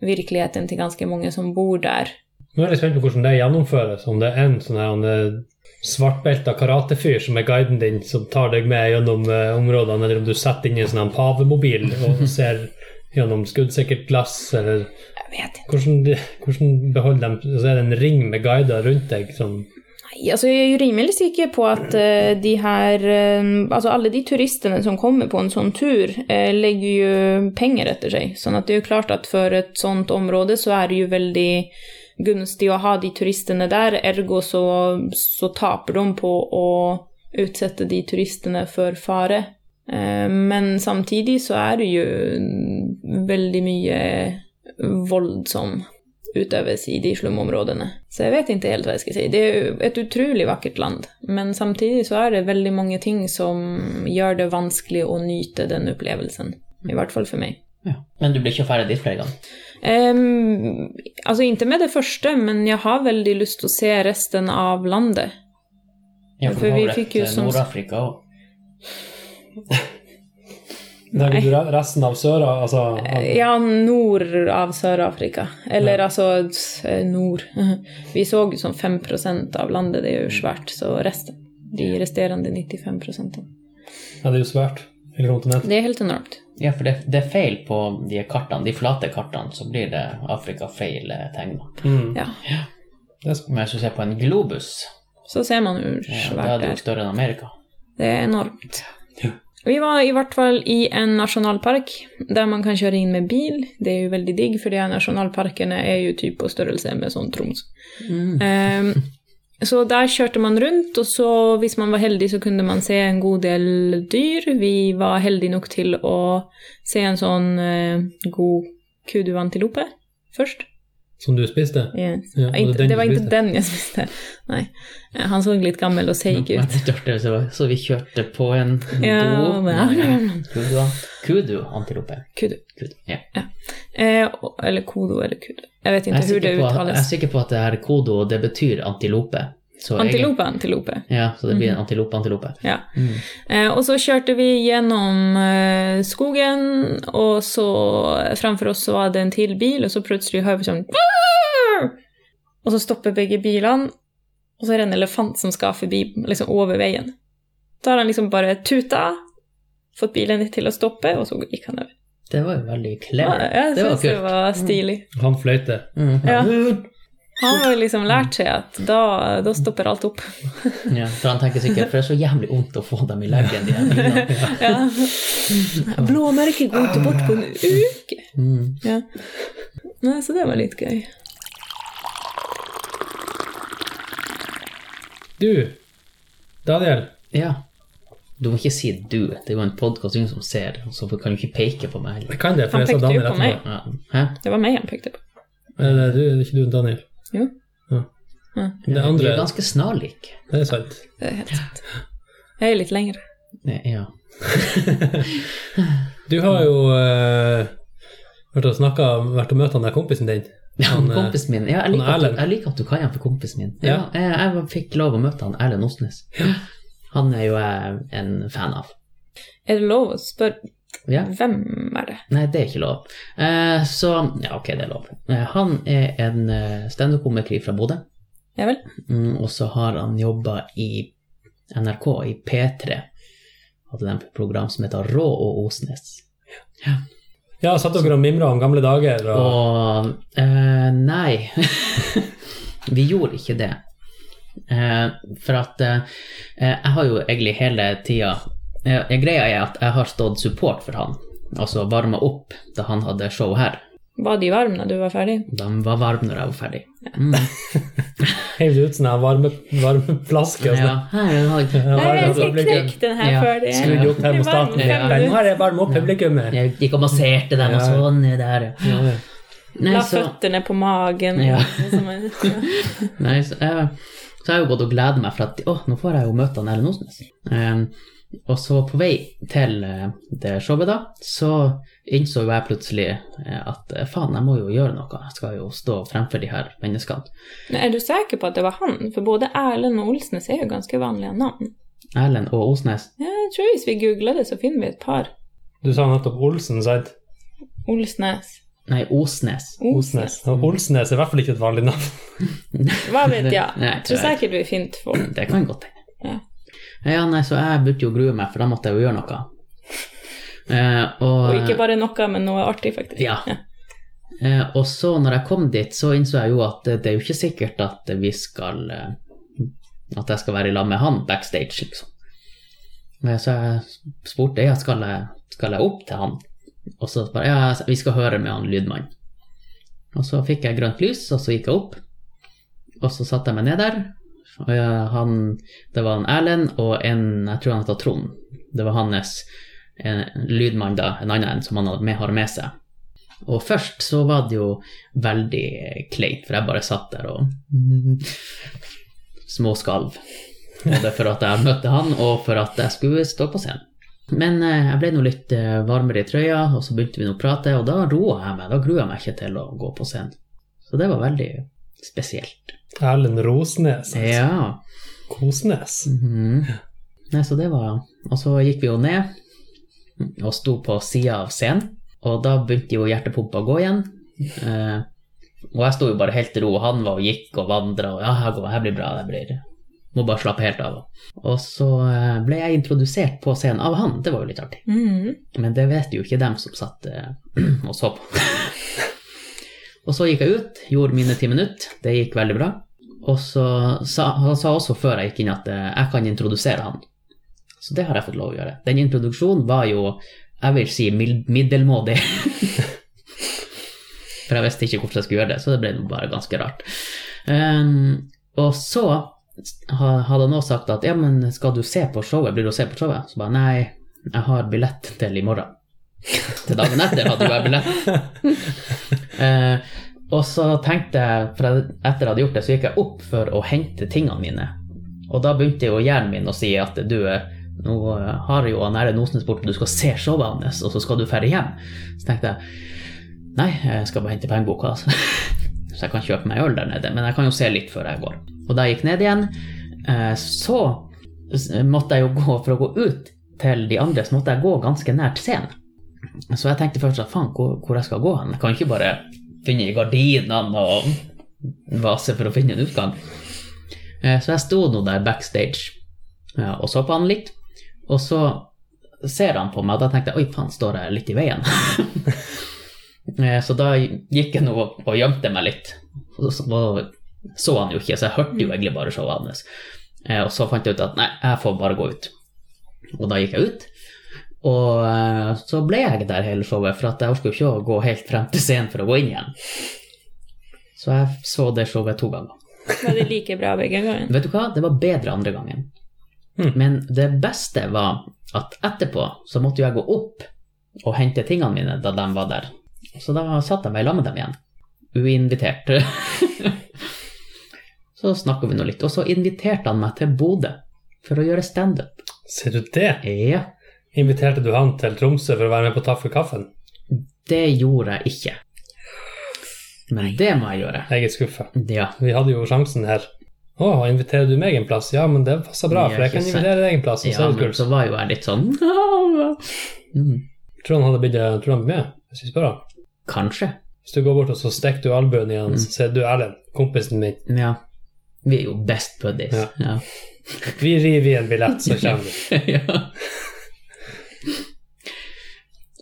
verkligheten till ganska många som bor där. Nå er jeg spent på hvordan det gjennomføres. Om det er en sånn her han, eh, svartbelta karatefyr som er guiden din, som tar deg med gjennom eh, områdene, eller om du setter inn i en sånn her pavemobil og ser gjennom skuddsikkert glass, eller Jag vet inte. hvordan, de- hvordan beholder de Så er det en ring med guider rundt deg som Nei, altså jeg er jo rimelig sikker på at eh, de her eh, Altså alle de turistene som kommer på en sånn tur, eh, legger jo penger etter seg. Sånn at det er jo klart at for et sånt område så er det jo veldig gunstig å ha de turistene der, ergo så, så taper de på å utsette de turistene for fare. Eh, Men samtidig så er det jo veldig mye vold som utøves i de slumområdene. Så jeg vet ikke helt hva jeg skal si. Det er jo et utrolig vakkert land, men samtidig så er det veldig mange ting som gjør det vanskelig å nyte den opplevelsen. I hvert fall for meg. Ja. Men du blir ikke ferdig dit flere ganger? Ehm, altså ikke med det første, men jeg har veldig lyst til å se resten av landet. Ja, for du har vi vel fikk et, jo eh, som- Nord-Afrika òg. Da vil du re- resten av søra, altså av- Eh, Ja, nord av Sør-Afrika. Eller altså eh, nord. Vi så jo sånn 5 av landet, det er jo svært, så resten. De resterende 95 Ja, det er jo svært. Hele kontinentet. Det er helt enormt. Ja, for det, det er feil på de kartene, de flate kartene, så blir det Afrika feil eh, tegna. Mm. Ja. Det er sånn. Men hvis du ser på en globus, Så ser man hvor ja, da er svært det det jo er. større enn Amerika. Det er enormt. Ja. Vi var i hvert fall i en nasjonalpark der man kan kjøre inn med bil. Det er jo veldig digg, for de her nasjonalparkene er jo typ på størrelse med sånn Troms. Mm. Ehm, så der kjørte man rundt, og så hvis man var heldig, så kunne man se en god del dyr. Vi var heldige nok til å se en sånn eh, god kuduantilope først. Som du spiste? Yes. Ja, var det Inte- den det du var ikke spiste? den jeg spiste. Nei. Han så litt gammel og seig Men ut. det er artig, så- Så vi kjørte på en Ja, do men- Kudu, kudu antilope. Kudu. Kudu, ja. Eh, og- eller kodo eller kudo. Jeg vet Jeg, ikke er hvordan sikker det på, at- jeg er uttales. sikker på at det her kodo det betyr antilope. Så jeg- Antilope, antilope. ja, så det blir en antilope-antilope. Ja. Mm. Eh, og så kjørte vi gjennom eh, skogen, og så framfor oss så var det en til bil, og så plutselig hører vi sånn «Brrr!» Og så stopper begge bilene, og så er det en elefant som skal forbi, liksom over veien. Da har han liksom bare tuta, fått bilen litt til å stoppe, og så gikk han over. Det var jo veldig Ja, clever. Jeg Det var syns det kult. var stilig. Han fløyte. Mm. Ja. Han har jo liksom lært seg at da, da stopper alt opp. Ja, for han tenker sikkert for det er så jævlig vondt å få dem i leggen. De her bilene. Ja. Blåmerket går ikke bort på en uke. mm. Ja. Nei, så det var litt gøy. Du, Daniel. ja. Du må ikke si 'du'. Det er jo en podkast ingen som ser, så du kan jo ikke peke på meg heller. Jeg kan det, for Han jeg sa pekte jo Daniel på meg. etterpå. Ja. Hæ? Det var meg han pekte på. Men det er du, det er ikke du, Daniel. Jo. Ja. Ja, Det Du er andre, ganske snarlik. det er sant. det er helt sant. Jeg er litt lengre. Ja. Du har jo eh, vært og snakka, vært og møtt han der kompisen din. Han, eh, kompisen min. Ja, jeg, liker han at du, Erlend. jeg liker at du kaller han for kompisen min. Ja, Ja. jeg, jeg fikk lov å møte han Erlend Osnes. Han er jo jeg en fan av. Er det lov å spørre Ja. hvem er det? Nei, det er ikke lov. Eh, så ja, ok, det er lov. Eh, han er en eh, standup-komiker fra Bodø, Ja vel? mm, og så har han jobba i NRK, i P3. Hadde de et program som heter Rå og Osnes. Ja, satt dere og mimra om gamle dager og Og eh, Nei, vi gjorde ikke det. Eh, for at eh, jeg har jo egentlig hele tida eh, Greia er at jeg har stått support for han, altså varma opp da han hadde show her. Var de varme da du var ferdig? De var varme når jeg var ferdig. Mm. heiv ut sånne her varme, varme flasker og Ja. sånn. Her er han. Ja, Nei, varme jeg skal publikum. knekke den her Ja. før det Skru Skrudde opp Det er varmt, termostaten. fem Nei, Nå minutter. er det varme opp publikummet. Jeg gikk og masserte dem og Ja. sånn. Der. Ja. Nei, La så, føttene på magen. Ja. Som en- ja. nei, så, eh, så jeg har jo gått og gleda meg for at å, nå får jeg jo møte han Erlend Osnes. Eh, og så på vei til eh, det showet, da, så innså jo jeg plutselig eh, at eh, faen, jeg må jo gjøre noe. Jeg skal jo stå fremfor de her menneskene. Men Er du sikker på at det var han? For både Erlend og Olsnes er jo ganske vanlige navn. Erlend og Osnes. Jeg tror hvis vi googler det, så finner vi et par. Du sa nettopp Olsen, sant? Olsnes. Nei, Osnes. Osnes. Og Olsnes er i hvert fall ikke et vanlig navn. Hva vet jeg? Nei, Jeg tror jeg- sikkert vi finner folk. Det kan godt hende. Ja. Ja, nei, så jeg begynte jo å grue meg, for da måtte jeg jo gjøre noe. Eh, og, Og ikke bare noe, men noe artig, faktisk. Ja. Eh, og så når jeg kom dit, så innså jeg jo at eh, det er jo ikke sikkert at vi skal eh, at jeg skal være i lag med han backstage, liksom. Men Så jeg spurte ja, skal jeg skal jeg opp til han. Og så bare ja, vi skal høre med han lydmannen. Og så fikk jeg grønt lys, og så gikk jeg opp. Og så satte jeg meg ned der. Og jeg, han, det var en Erlend og en, jeg tror han heter Trond. Det var hans en, lydmann, da, en annen en som han hadde med, har med seg. Og først så var det jo veldig kleint, for jeg bare satt der og småskalv. Både for at jeg møtte han, og for at jeg skulle stå på scenen. Men eh, jeg ble nå litt eh, varmere i trøya, og så begynte vi nå å prate, og da roa jeg meg. Da grua jeg meg ikke til å gå på scenen. Så det var veldig spesielt. Erlend Rosnes. altså. Ja. Kosnes. Mhm. Nei, så det var Og så gikk vi jo ned og sto på sida av scenen, og da begynte jo hjertepumpa å gå igjen. Eh, og jeg sto jo bare helt i ro, og han var og gikk og vandra og ja, her går- her blir bra, det blir Må bare slappe helt av. Og så eh, ble jeg introdusert på scenen av han, det var jo litt artig. Mhm. Men det vet jo ikke dem som satt eh, og så på. og så gikk jeg ut, gjorde mine ti minutter, det gikk veldig bra. Og så sa han sa også før jeg gikk inn at eh, jeg kan introdusere han. Så det har jeg fått lov å gjøre. Den introduksjonen var jo, jeg vil si, mil- middelmådig. For jeg visste ikke hvordan jeg skulle gjøre det, så det ble nå bare ganske rart. Ehm, og så ha- hadde han også sagt at ja, men skal du se på showet, blir du å se på showet? Så bare nei, jeg har billett til i morgen. Til dagen etter hadde jo jeg billett. Eh, og så tenkte jeg, for jeg- etter jeg hadde gjort det, så gikk jeg opp for å hente tingene mine. Og da begynte jo hjernen min å si at du eh, nå eh, har jo han Erlend Osnes borte, du skal se showet hans, og så skal du dra hjem. Så tenkte jeg nei, jeg skal bare hente pengeboka, altså. så jeg kan kjøpe meg øl der nede, men jeg kan jo se litt før jeg går. Og da jeg gikk ned igjen, eh, så s- måtte jeg jo gå for å gå ut til de andre, så måtte jeg gå ganske nært scenen. Så jeg tenkte først at faen, hvor, hvor jeg skal gå hen? Jeg kan ikke bare finne i gardinene og vase for å finne en utgang. Eh, Så jeg sto nå der backstage ja, og så på han litt, og så ser han på meg, og da tenkte jeg oi faen, står jeg litt i veien? Eh, så da gikk jeg nå og og gjemte meg litt. Og så- og så han jo ikke, så jeg hørte jo egentlig bare showet hans. Eh, Og så fant jeg ut at nei, jeg får bare gå ut. Og da gikk jeg ut. Og eh, så ble jeg der hele showet, for at jeg orker jo ikke å gå helt frem til scenen for å gå inn igjen. Så jeg så det showet to ganger. Var det like bra begge gangene? Vet du hva, det var bedre andre gangen. Hmm. Men det beste var at etterpå så måtte jo jeg gå opp og hente tingene mine da de var der. Så da satt jeg meg i lag med dem igjen. Uinvitert. så snakka vi nå litt, og så inviterte han meg til Bodø for å gjøre standup. Ser du det? Ja, Inviterte du han til Tromsø for å være med på Taff for kaffen? det gjorde jeg ikke. Men det må jeg gjøre. Jeg er skuffa. Ja. Vi hadde jo sjansen her. Å, inviterer du meg en plass? Ja, men det passer bra, Ja, for jeg ikke kan sant. invitere deg en plass. Og så ja, er det men kult. så var jo jeg litt sånn mm, Tror du han hadde blitt eh, tror du han blir med, hvis vi spør han. Kanskje. Hvis du går bort og så stikker du albuen i Mm. han, så sier du Erlend, kompisen min, Ja. Vi er jo best buddies. Ja. Ja. vi river i en billett, så kommer du. ja.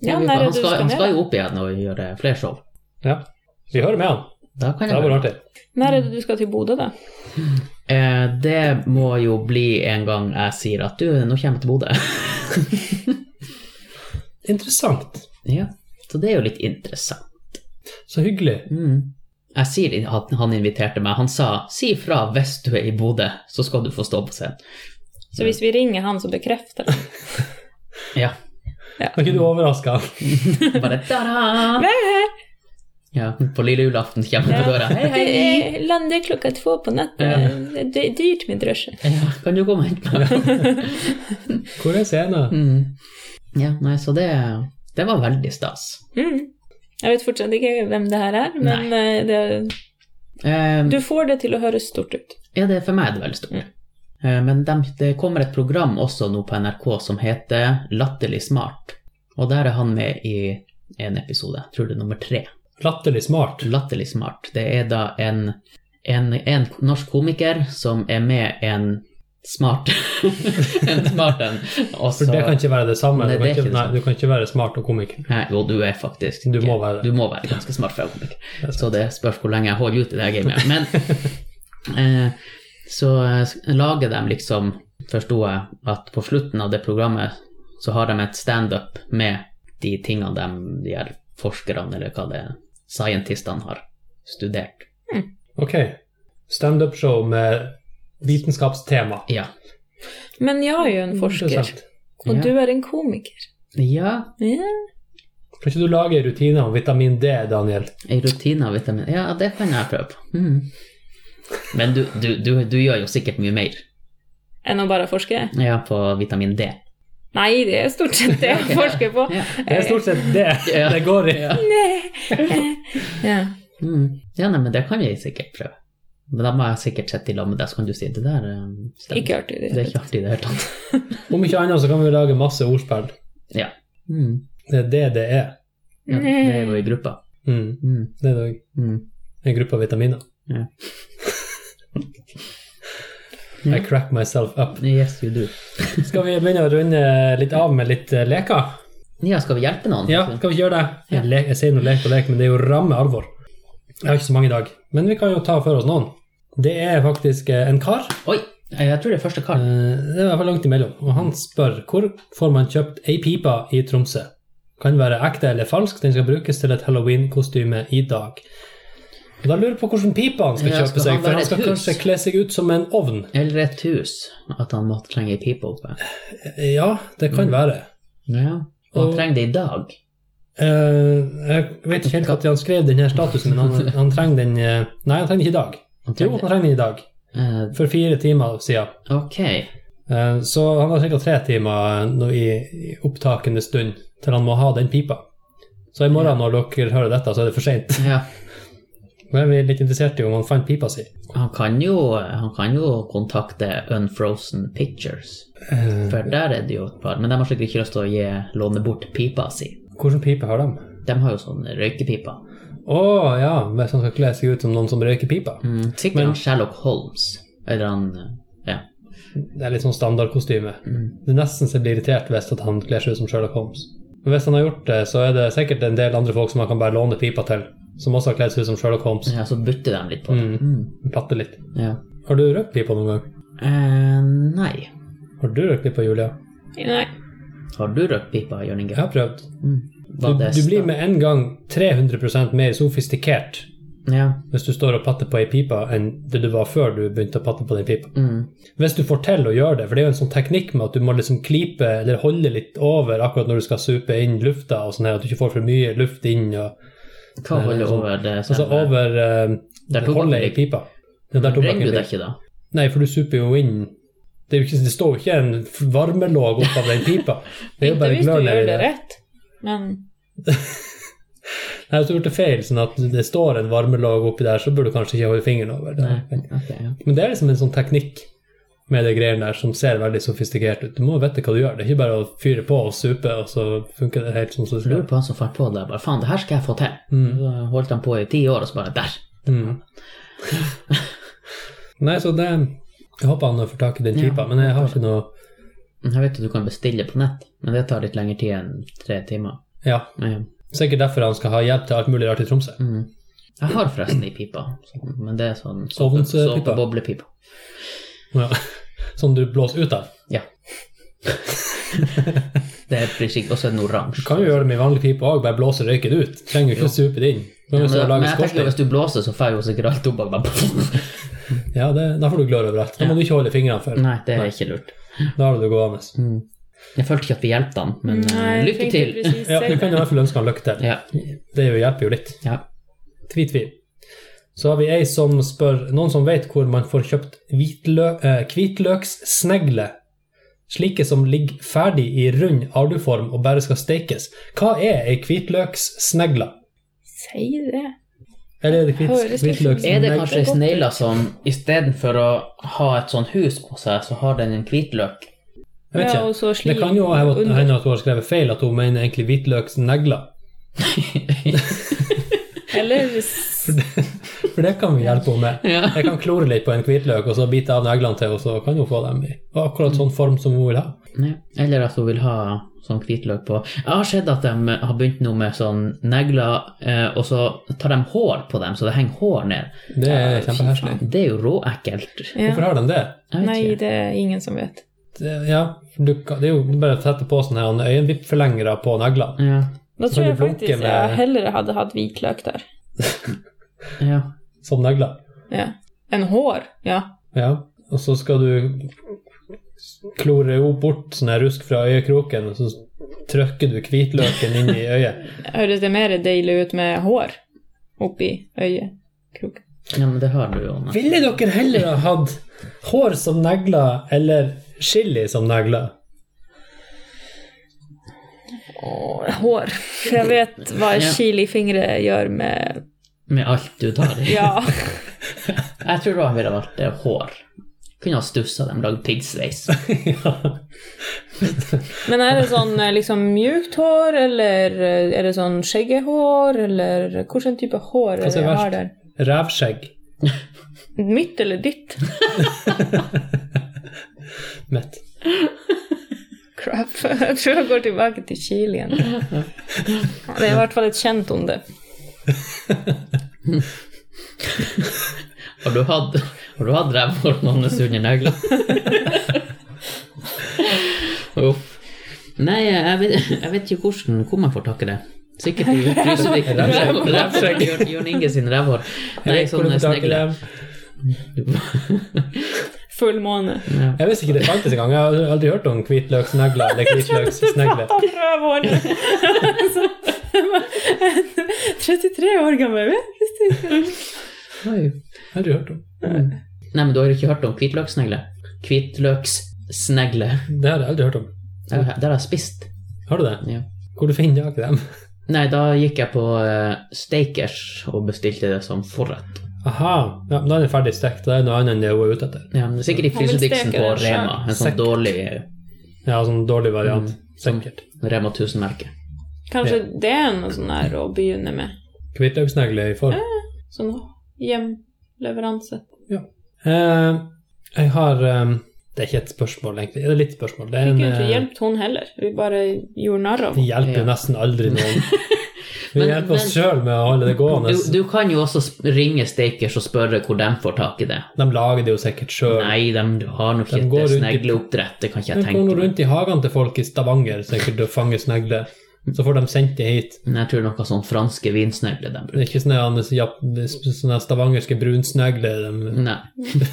Ja, vi- når er det han, du skal, skal han ned, skal da? jo opp igjen og gjøre flere show. Ja. Vi hører med han. Da Det kan jeg hadde det, vært artig. Når er det du skal til Bodø, da? eh, det må jo bli en gang jeg sier at du, nå kommer jeg til Bodø. Interessant. ja. Så det er jo litt interessant. Så hyggelig. Mm. Jeg sier at han inviterte meg. Han sa 'si fra hvis du er i Bodø, så skal du få stå på scenen'. Så hvis vi ringer han, så bekrefter han. Ja. Kan ikke du overraske han? Bare da-da! Ja, på lille julaften kommer han på døra. Hei, Det hei! er- lander klokka två på natten. Det er dyrt med drosje. Ja, kan du komme og hente meg? Hvor er scenen? Mm. Ja, nei, så det, det var veldig stas. Mm. Jeg vet fortsatt ikke hvem det her er, men eh, det, Eh, du får det til å høres stort ut. ja, det, for meg er det veldig stort. Mm. Eh, men dem- det kommer et program også nå på NRK som heter Latterlig smart. Og der er han med i en episode, jeg tror det er nummer tre. Latterlig smart. Latterlig smart. Det er da en, en, en norsk komiker som er med en smart en smart en. Og For det kan ikke være det samme. Nei, Du kan det er ikke, ikke det nei, samme. du kan ikke være smart og komiker. Nei, jo, du er faktisk Du må være det. Du må være ganske smart for å være komiker. Det er sant. Så det spørs hvor lenge jeg holder ut i det her gamet. Men eh, så eh, s- lager de liksom, forsto jeg, at på slutten av det programmet så har de et standup med de tingene de, de her forskerne, eller hva det er, scientistene har studert. Ok. Standup-show med vitenskapstema. Ja. Men jeg er jo en forsker, Interessant. og Ja. du er en komiker. ja, Ja. Kan ikke du lage en rutine om vitamin D, Daniel? en rutine av vitamin Ja, det kan jeg prøve på. Mm. Men du, du, du, du gjør jo sikkert mye mer Enn å bare forske? ja, på vitamin D. Nei, det er stort sett det jeg forsker på. Ja. Det er stort sett det Ja. det går i. Ja. Ja. Mm. ja, nei, men det kan vi sikkert prøve. Men da må jeg sikkert sette i lag med deg, så kan du si det der. eh, stemmer. Ikke artig. Det er Det. ikke artig i det hele tatt. Om ikke annet så kan vi lage masse ordspill. Ja. Mm. Det er det det er. ja. Det er jo i gruppa. Mm. Mm. Det er det også. Mm. en gruppe av vitaminer. Ja. I crack myself up. Yes, you do. Skal vi begynne å runde litt av med litt eh, leker? Ja, skal vi hjelpe noen? Ja, skal vi ikke gjøre det? Ja. Jeg, le- jeg sier noe lek og lek, men det er jo ramme alvor. Jeg har ikke så mange i dag, men vi kan jo ta for oss noen. Det er faktisk eh, en kar. Oi, jeg tror det er første eh, kar. Det er i hvert fall langt imellom. Og han spør hvor får man kjøpt ei pipe i Tromsø? Kan være ekte eller falsk, den skal brukes til et halloween-kostyme i dag. Og da lurer jeg på hvordan pipa han skal Ja, kjøpe skal seg, han for være han et skal hus? kanskje kle seg ut som en ovn. Eller et hus. At han måtte trenge ei pipe oppe. Ja, det Mm. kan være. Ja. Og han Og- trenger det i dag. Eh, jeg vet ikke helt når han skrev den her statusen, men han, han trenger den eh, Nei, han trenger den ikke i dag. Han Jo, han trenger det. trenger den i dag. Eh, For fire timer siden. ok. Eh, Så han har ca. tre timer eh, nå i i opptakende stund til han må ha den pipa. Så i morgen når dere hører dette, så er det for seint. Ja. Men vi er litt interessert i om han fant pipa si. Han kan, jo, han kan jo kontakte Unfrozen Pictures, Eh, for der er det jo et par. Men de har sikkert ikke lyst til å gi, låne bort pipa si. Hvilken pipe har de? De har jo sånn røykepipa. Å ja, hvis han skal kle seg ut som noen som røyker pipa. Mm, sikkert Men- han Sherlock Holmes. Eller han Ja. Det er litt sånn standardkostyme. Mm. Det er nesten så jeg blir irritert hvis at han kler seg ut som Sherlock Holmes. Men hvis han har gjort det, så er det sikkert en del andre folk som han kan bare låne pipa til, som også har kledd seg ut som Sherlock Holmes. ja så bytter de litt på det. Mm. Mm. Platte litt. Ja. Har du røkt pipa noen gang? Eh, nei. Har du røkt pipa, Julia? Nei. Har du røkt pipa, Jørn Inge? Jeg har prøvd. Mm. Du, Var det du blir sta- med en gang 300 mer sofistikert Ja. hvis du står og patter på ei pipe, enn det du var før du begynte å patte på den pipa. Mm. Hvis du får til å gjøre det, for det er jo en sånn teknikk med at du må liksom klype eller holde litt over akkurat når du skal supe inn lufta, og sånn her, at du ikke får for mye luft inn. og Nei, Hva det er holder sånn- over det Altså selve- over eh, Der det tok holdet i jeg- pipa. Ja, der tobakken Ringer du ligger. deg ikke, da? Nei, for du super jo inn Det, er jo ikke, det står jo ikke en f- varmelåg opp av den pipa. Det er jo Ikke bare hvis du glør gjør det nedi der. rett, men Nei, Hvis du har gjort det feil, sånn at det står en varmelåg oppi der, så burde du kanskje ikke holde fingeren over det. Nei. ok, ja. Men det er liksom en sånn teknikk med de greiene der som ser veldig sofistikert ut. Du må vite hva du gjør. Det er ikke bare å fyre på og supe, og så funker det helt sånn som det Jeg skal. lurer på han som fant på det. Bare, faen, det her skal jeg få til. Mm. Så holdt han på i ti år, og så bare der. Mm. Nei, så det Jeg håper han får tak i den Ja, pipa, men jeg har ikke noe Jeg vet at du kan bestille på nett, men det tar litt lengre tid enn tre timer. Ja. Ja. Sikkert derfor han skal ha hjelp til alt mulig rart i Tromsø. Mm. Jeg har forresten ei pipe, sånn, men det er sånn såpe- Ovnspipe. såpeboblepipe. Ja. Som du blåser ut av. Ja. det er blir sikkert også en Du oransje. kan jo gjøre det med vanlig pipe òg, bare blåse røyken ut. Trenger jo ikke å supe det inn. Du kan jo Ja, men, stå og men lage jeg tenker jo skorstein. hvis du blåser, så får jo sikkert all tobakk bare Ja, det, da får du glør overalt. Da må du ikke holde fingrene for. Nei, det er ikke lurt. Da har du det gående. Mm. Jeg følte ikke at vi hjalp han, men eh, Nei, jeg lykke tenkte til. precis Ja, du selv. kan i hvert fall ønske han lykke til. Ja. Det jo hjelper jo litt. ja. Tvi-tvi. Så har vi ei som spør noen som vet hvor man får kjøpt hvitlø eh, hvitløkssnegler. Slike som ligger ferdig i rund arduform og bare skal stekes. Hva er ei hvitløkssnegle? Si det. Eller er det hvit, Høres sånn litt hvitløks... Er det kanskje Det er godt. snegler som istedenfor å ha et sånn hus på seg, så har den en hvitløk? Jeg vet Ja, og ikke. så Det slik kan jo under. hende at hun har skrevet feil, at hun mener egentlig hvitløkssnegler. Eller For det kan vi hjelpe henne med. Ja. Jeg kan klore litt på en hvitløk, og så bite av neglene til, og så kan hun få dem i akkurat sånn form som hun vil ha. Ja. Eller at hun vil ha sånn hvitløk på. Jeg har sett at de har begynt nå med sånn negler, eh, og så tar de hår på dem, så det henger hår ned. Det er Ja, fy kjempeherselig. faen. Det er jo råekkelt. Jeg Ja. Hvorfor har de det? vet Nei, ikke. det er ingen som vet. det ja, du, kan- det er jo bare å sette på sånne her øyenvippforlengere på neglene. Ja, Da Så tror du jeg blunker faktisk med- jeg heller hadde hatt hvitløk der. ja. Som negler. Ja. Enn hår. Ja. Ja. Og så skal du klore jo bort sånn her rusk fra øyekroken, og så trykker du hvitløken inn i øyet. Høres det mer deilig ut med hår oppi øyekroken? ja men det har du jo. Anna. Ville dere heller ha hatt hår som negler eller chili som negler? Åh, Hår. Jeg vet hva Ja. chilifingre gjør med Med alt du tar i. Ja. Jeg tror da jeg ville valgt eh, hår. Kunne ha stussa dem, lagd piggsveis. ja. Men er det sånn eh, liksom mjukt hår, eller eh, er det sånn skjeggehår, eller hvilken type hår Hva er som det er jeg har verst? der? Rævskjegg. Mitt eller ditt? Mitt. Crap. Jeg tror jeg går tilbake til Chile igjen. Det er i hvert fall et kjent om det. Har du hatt, har du hatt revhår hans under neglene? Uff. Nei, jeg vet, jeg vet ikke hvordan, hvor man får tak i det. Sikkert i Brusevik. Rævskjegg. Rævskjegg. Jørn- Jørn Inge sin revhår. Nei, Jeg vet hvor du sånne får tak i snegler. dem. Full måne. Ja. Jeg visste ikke det fantes engang. Jeg har aldri hørt om hvitløksnegler eller hvitløkssnegler. Faen, rødhår. Altså, 33 år gammel, vet du. Oi. Aldri hørt om. Nei, men du har ikke hørt om hvitløkssnegle? Hvitløkssnegle. Det har jeg aldri hørt om. Det har det har jeg spist. Har du det? Ja. Hvor du finner tak i dem? Nei, da gikk jeg på eh, Steakers og bestilte det som forrett. Aha, ja, men da er den ferdig stekt. Da er det noe annet enn det hun er ute etter. Ja, men det er sikkert i Jeg vil frysediksen steke på det selv. Rema. En sånn Sikkert. dårlig Ja, sånn dårlig variant. som Sikkert. Rema 1000-merke. Kanskje det er noe sånn her å begynne med. Hvitløksnegler i form. Sånn hjemleveranse. Eh, jeg har eh, Det er ikke et spørsmål, egentlig. Det er litt spørsmål. Det er Fikk en, jo ikke eh, hjulpet hun heller. Vi bare gjorde narr av vi henne. hjelper jo nesten aldri noen. Vi Men- hjelper oss men- sjøl med å holde det gående. Du, du kan jo også sp- ringe Steakers og spørre hvor de får tak i det. De lager det jo sikkert sjøl. Nei, de har nok De går ikke rundt i- snegleoppdrett, det kan ikke De går jeg nå tenke meg. rundt i hagene til folk i Stavanger sikkert og fanger snegler. Så får de sendt det hit. Men jeg tror noe sånn franske vinsnegler de Det bruker. er ikke sånne, andre- jap- sånne stavangerske brunsnegler. De, Nei. Jeg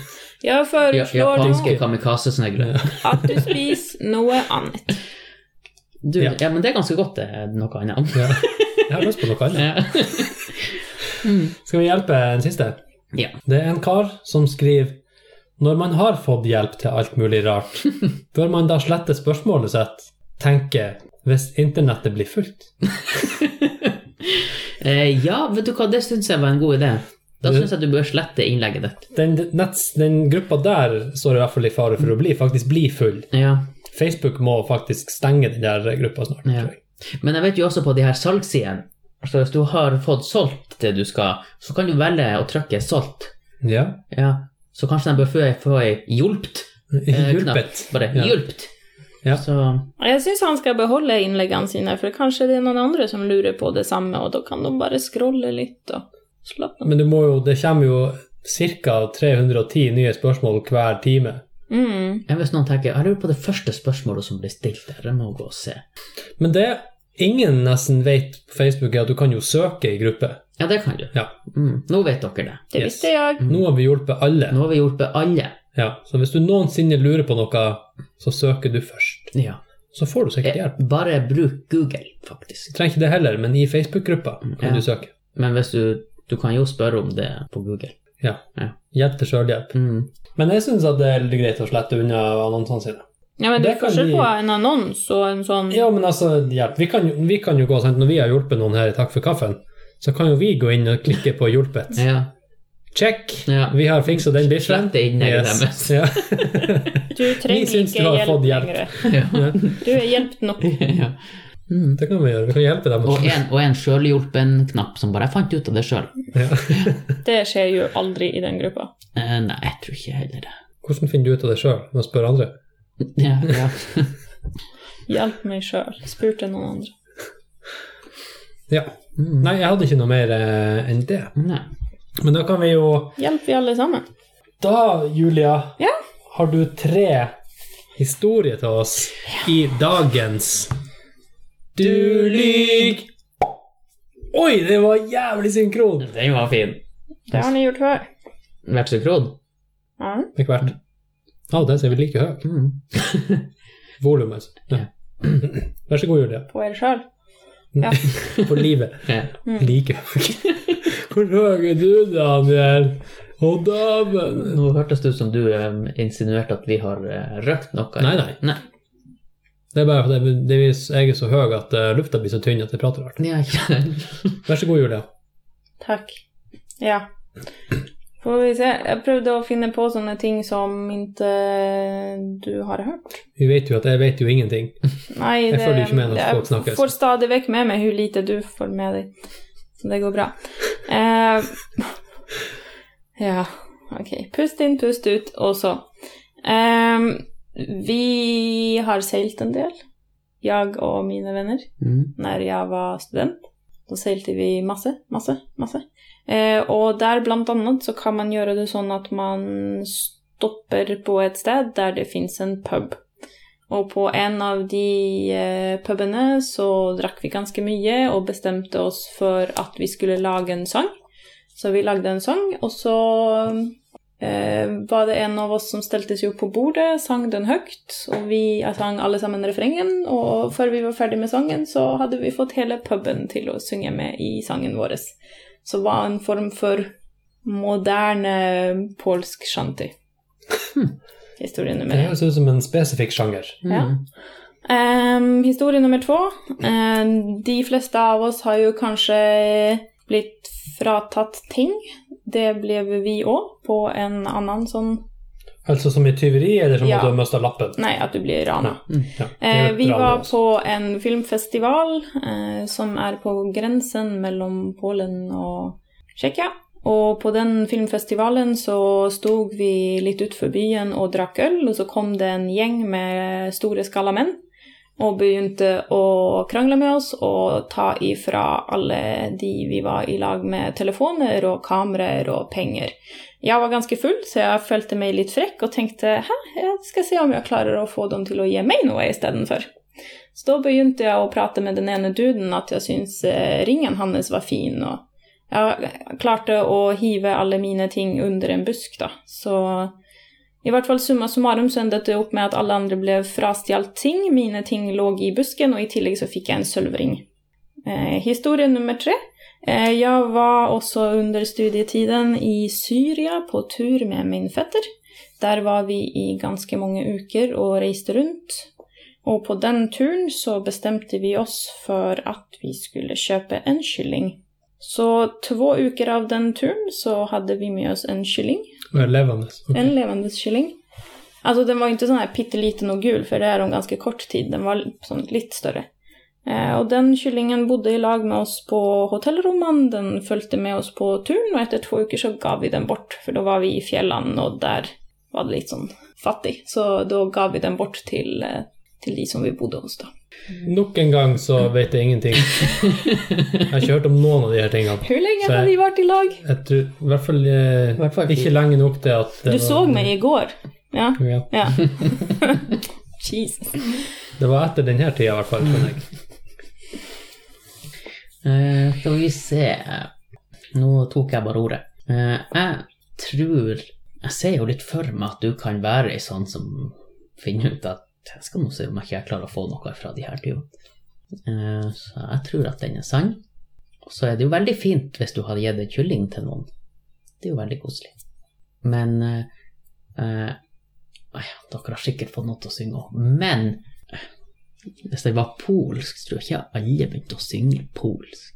Ja, foreslår japanske nå kamikazesnegler. at du spiser noe annet. Du, Ja. ja, men det er ganske godt, det er noe annet. ja. Jeg har lyst på noe annet. Ja. Skal vi hjelpe en siste? Ja. Det er en kar som skriver Når man har fått hjelp til alt mulig rart, bør man da slette spørsmålet sitt? Tenke hvis internettet blir fullt? Eh, ja, vet du hva, det syns jeg var en god idé. Da Du- syns jeg du bør slette innlegget ditt. Den, netts, den gruppa der står i hvert fall i fare for å bli, faktisk bli full. Ja. Facebook må faktisk stenge den der gruppa snart. Ja. tror jeg. Men jeg vet jo også på de her salgssidene, så hvis du har fått solgt det du skal, så kan du velge å trykke 'solgt'. Ja. Ja. Så kanskje de bør få ei- få ei 'hjulpt'. eh, Hjulpet. knapp. Bare Ja. 'hjulpt'. Ja. Så Jeg syns han skal beholde innleggene sine, for kanskje det er noen andre som lurer på det samme, og da kan de bare scrolle litt og slappe av. Men du må jo, det kommer jo ca. 310 nye spørsmål hver time. Mm. ja, hvis noen tenker 'jeg lurer på det første spørsmålet som blir stilt der', jeg må gå og se. Men det ingen nesten vet på Facebook, er at du kan jo søke i gruppe. Ja, det kan du. Ja. Mm. Nå vet dere det. Mm. Det Yes. visste jeg. Nå har vi hjulpet alle. Nå har vi hjulpet alle. Ja, så hvis du noensinne lurer på noe, så søker du først. Ja. Så får du sikkert Eh, hjelp. Bare bruk Google, faktisk. Du trenger ikke det heller, men i Facebook-gruppa kan Ja. du søke. Men hvis du, du kan jo spørre om det på Google. Hjelp til sjølhjelp. Mm. Men jeg syns det er litt greit å slette unna annonsene sine. Ja, men det Det er kan forskjell vi- på en annons og en sånn Ja, men altså, hjelp. Vi kan, jo- vi kan jo gå sant? Når vi har hjulpet noen her i Takk for kaffen, så kan jo vi gå inn og klikke på 'hjulpet'. Ja. Check! Ja. Vi har fiksa den biffen. Slette innlegget deres. Yes. Ja. Du trenger syns ikke du har hjelp fått hjelp. lenger. Ja. Du er hjulpet nok. ja. Mm. Det kan vi gjøre. Vi kan hjelpe dem. Og en, og en sjølhjulpen-knapp som bare jeg fant ut av det sjøl. Ja. Det skjer jo aldri i den gruppa. Eh, nei, jeg tror ikke heller det. Hvordan finner du ut av det sjøl? Med å spørre andre? Ja, ja. Hjalp meg sjøl. Spurte noen andre. Ja. Nei, jeg hadde ikke noe mer eh, enn det. Nei. Men da kan vi jo Hjelper vi alle sammen? Da, Julia, Ja. har du tre historier til oss i dagens Du lyg! Oi, det var jævlig synkron! Den var fin. Det har ni gjort før. Vært så krod. Ja. Ikke verdt. Ja, den ser vi like høy. Mm. Volum, altså. Ja. Vær så god, Julia. På dere sjøl. For livet. Ja. Like høy. Hvor høy er du, Daniel? Å, dæven! Nå hørtes det ut som du eh, insinuerte at vi har eh, røkt noe. Nei, nei. Nei. Det er bare fordi det- det er- jeg er så høy at eh, lufta blir så tynn at jeg prater rart. Ja, ikke Vær så god, Julia. Takk. Ja. Får vi se. Jeg prøvde å finne på sånne ting som ikke du har hørt. Vi vet jo at jeg vet jo ingenting. Nei, Jeg følger ikke med når folk snakker. Jeg får stadig vekk med meg hvor lite du får med deg, så det går bra. Eh, ja, ok. Pust inn, pust ut, og så. Eh, vi har seilt en del, jeg og mine venner, Mm. når jeg var student. Da seilte vi masse, masse, masse. Eh, og der blant annet så kan man gjøre det sånn at man stopper på et sted der det fins en pub. Og på en av de eh, pubene så drakk vi ganske mye og bestemte oss for at vi skulle lage en sang. Så vi lagde en sang, og så eh, var det en av oss som stelte seg opp på bordet, sang den høyt, og vi sang alle sammen refrengen, og før vi var ferdig med sangen, så hadde vi fått hele puben til å synge med i sangen vår. Så var en form for moderne polsk shanty. Historien Hm. Det nummer én. høres ut som en spesifikk sjanger. Ja. Ehm, historie nummer två. Ehm, de fleste av oss har jo kanskje blitt fratatt ting. Det ble vi òg, på en annen sånn Altså som i tyveri, eller som Ja. at du har mista lappen? Nei, at du blir rana. Ja, det er Eh, et vi drama var også. på en filmfestival eh, som er på grensen mellom Polen og Tsjekkia. Og på den filmfestivalen så stod vi litt utenfor byen og drakk øl, og så kom det en gjeng med store skalla menn og begynte å krangle med oss og ta ifra alle de vi var i lag med, telefoner og kameraer og penger. Jeg var ganske full, så jeg følte meg litt frekk og tenkte hæ, jeg skal se om jeg klarer å få dem til å gi meg noe istedenfor. Så da begynte jeg å prate med den ene duden at jeg syntes eh, ringen hans var fin, og jeg klarte å hive alle mine ting under en busk, da. Så i hvert fall summa summarum så endet det opp med at alle andre ble frastjålet ting, mine ting lå i busken, og i tillegg så fikk jeg en sølvring. Eh, historie nummer tre. Eh, jeg var også under studietiden i Syria på tur med min fetter. Der var vi i ganske mange uker og reiste rundt. Og på den turen så bestemte vi oss for at vi skulle kjøpe en kylling. Så to uker av den turen så hadde vi med oss en kylling. Og er levende. Ok. En levende kylling. Alltså den var sånn inte sån här pytteliten och gul, för det är de ganska kort tid. Den var sån, lite större. Eh, och den kyllingen bodde i lag med oss på hotellrummen. Den följde med oss på turen och efter två veckor så gav vi den bort. För då var vi i fjällan och där var det lite sån fattig. Så då gav vi den bort till, eh, till de som vi bodde hos då. Nok en gang så vet jeg ingenting. Jeg har ikke hørt om noen av de her tingene. Hur länge Så- har vi varit i lag? Jeg tror, I hvert fall, eh, hvert fall ikke lenge nok til at det Du var- såg mig igår. Ja. Ja. ja. Jesus. Det var etter denne tida, i hvert fall. skjønner jeg. Eh, skal vi se Nå tok jeg bare ordet. Eh, jeg tror Jeg ser jo litt for meg at du kan være ei sånn som finner ut at jeg skal nå se om jeg ikke klarer å få noe fra de her tyvene. Eh, så jeg tror at den er sann. Og så er det jo veldig fint hvis du har gitt en kylling til noen. Det er jo veldig koselig. Men eh, eh, nei, Dere har sikkert fått noe til å synge om. Men eh, hvis det var polsk, så tror jeg ikke alle begynte å synge polsk.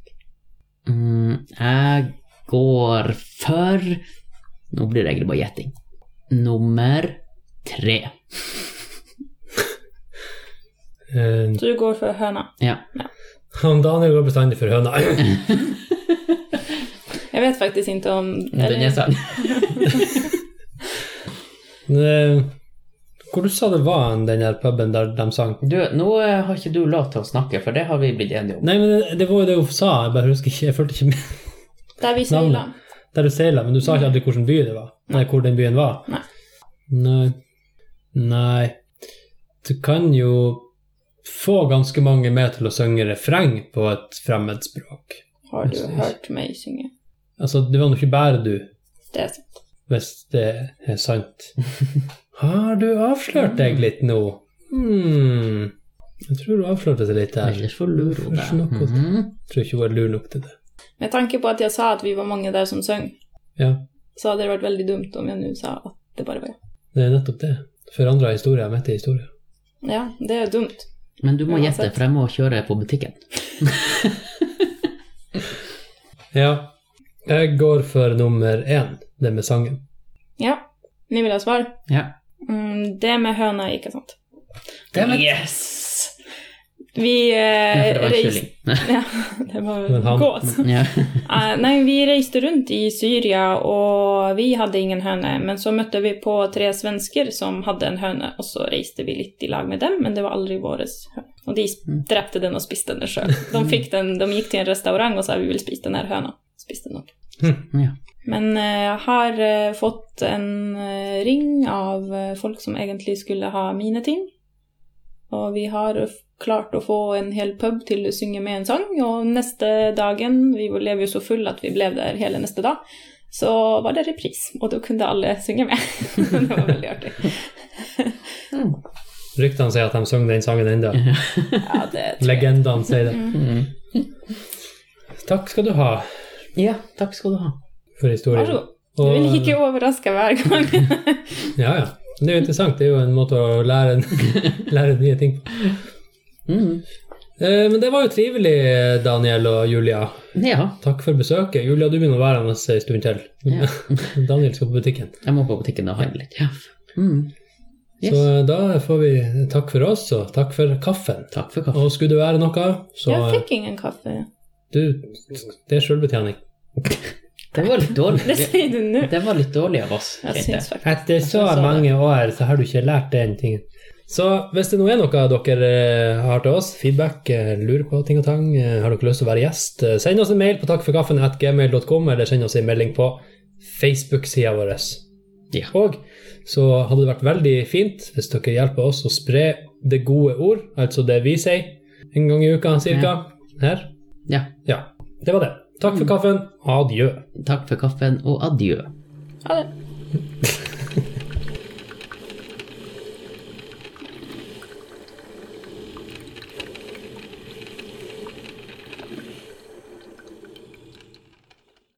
Mm, jeg går for Nå blir det egentlig bare gjetting. Nummer tre. Eh, Så du går för höna? Ja. han Daniel går bestandig for høna. Jag vet faktiskt inte om... Den er sann. Eh, Hvor du sa det var en, den der puben der de sang? Du, nå eh, har ikke du lov til å snakke, for det har vi blitt enige om. Nei, men det, det var jo det hun sa, jeg bare husker ikke, jeg fulgte ikke med Der vi seila. navnet. Der du seila, men du sa ikke aldri hvilken by det var. Nei, hvor den byen var. Nei. Nei. Nei. Du kan jo få ganske mange med til å synge refreng på et fremmedspråk. Har du hørt meg synge? Altså, det var nå ikke bare du, Det er sant. hvis det er sant. Har du avslørt deg Mm. litt nå? Hmm. Jeg tror du avslørte deg litt her. Ellers får du lure Hvorfor henne. snakker du? Mhm. Jeg tror ikke hun er lur nok til det. Med tanke på at jeg sa at vi var mange der som sang, Ja. så hadde det vært veldig dumt om jeg nå sa at det bare var jeg. Det er nettopp det. Forandra historier midt i historien. Ja, det er jo dumt. Men du må Uansett. gjette, for jeg må kjøre på butikken. Ja. Jeg går for nummer én, det med sangen. Ja. Ni vil ha svar? Ja. Mm, det med høna er ikke sant. Damn it. Yes! Vi Ja, eh, for det var en reiste kylling. Nei. Ja, det var Men han- gås. Ja. Eh, Nei, vi reiste rundt i Syria, og vi hadde ingen høne. Men så møtte vi på tre svensker som hadde en høne, og så reiste vi litt i lag med dem, men det var aldri vår høne. Og de Mm. drepte den og spiste den sjøl. De, fikk den- de gikk til en restaurant og sa vi vil spise den her høna. Spiste den opp. Hm, Ja. Men eh, jeg har eh, fått en eh, ring av eh, folk som egentlig skulle ha mine ting. Og vi har f- klart å få en hel pub til å synge med en sang. Og neste dagen, vi lever jo så full at vi ble der hele neste dag, så var det repris. Og da kunne alle synge med. det var veldig artig. Ryktene sier at de synger den sangen ennå. Ja, det tror jeg. Legendene sier det. Mhm. Takk skal du ha ja, takk skal du ha. for Vær historien. så god. Du vil ikke overraske hver gang. Ja, ja. Det er jo interessant. Det er jo en måte å lære, lære nye ting på. Mhm. Eh, Men det var jo trivelig, Daniel og Julia. Ja, Takk for besøket. Julia, du begynner å være med oss en stund til. Ja. Daniel skal på butikken. jeg må på butikken og handle litt. Ja. Mhm. Yes. Så eh, da får vi takk for oss, og takk for kaffen. Takk for kaffen. Og skulle det være noe, så Jeg eh, fikk ingen kaffe. du, det er sjølbetjening. Det var litt dårlig. Det sier du nå. Det var litt dårlig av oss. Jeg tenkte jeg. syns faktisk Etter så Jeg sa det. mange år så har du ikke lært den tingen. Så hvis det nå er noe dere eh, har til oss, feedback, eh, lurer på ting og tang, eh, har dere lyst til å være gjest, eh, send oss en mail på takkforkaffen.gmail.com, eller send oss en melding på Facebook-sida vår. Ja. Og så hadde det vært veldig fint hvis dere hjelper oss å spre det gode ord, altså det vi sier, en gang i uka cirka. Her. Ja. Ja. Det var det. Takk for kaffen. Adjø. Takk for kaffen, og adjø. Ha det.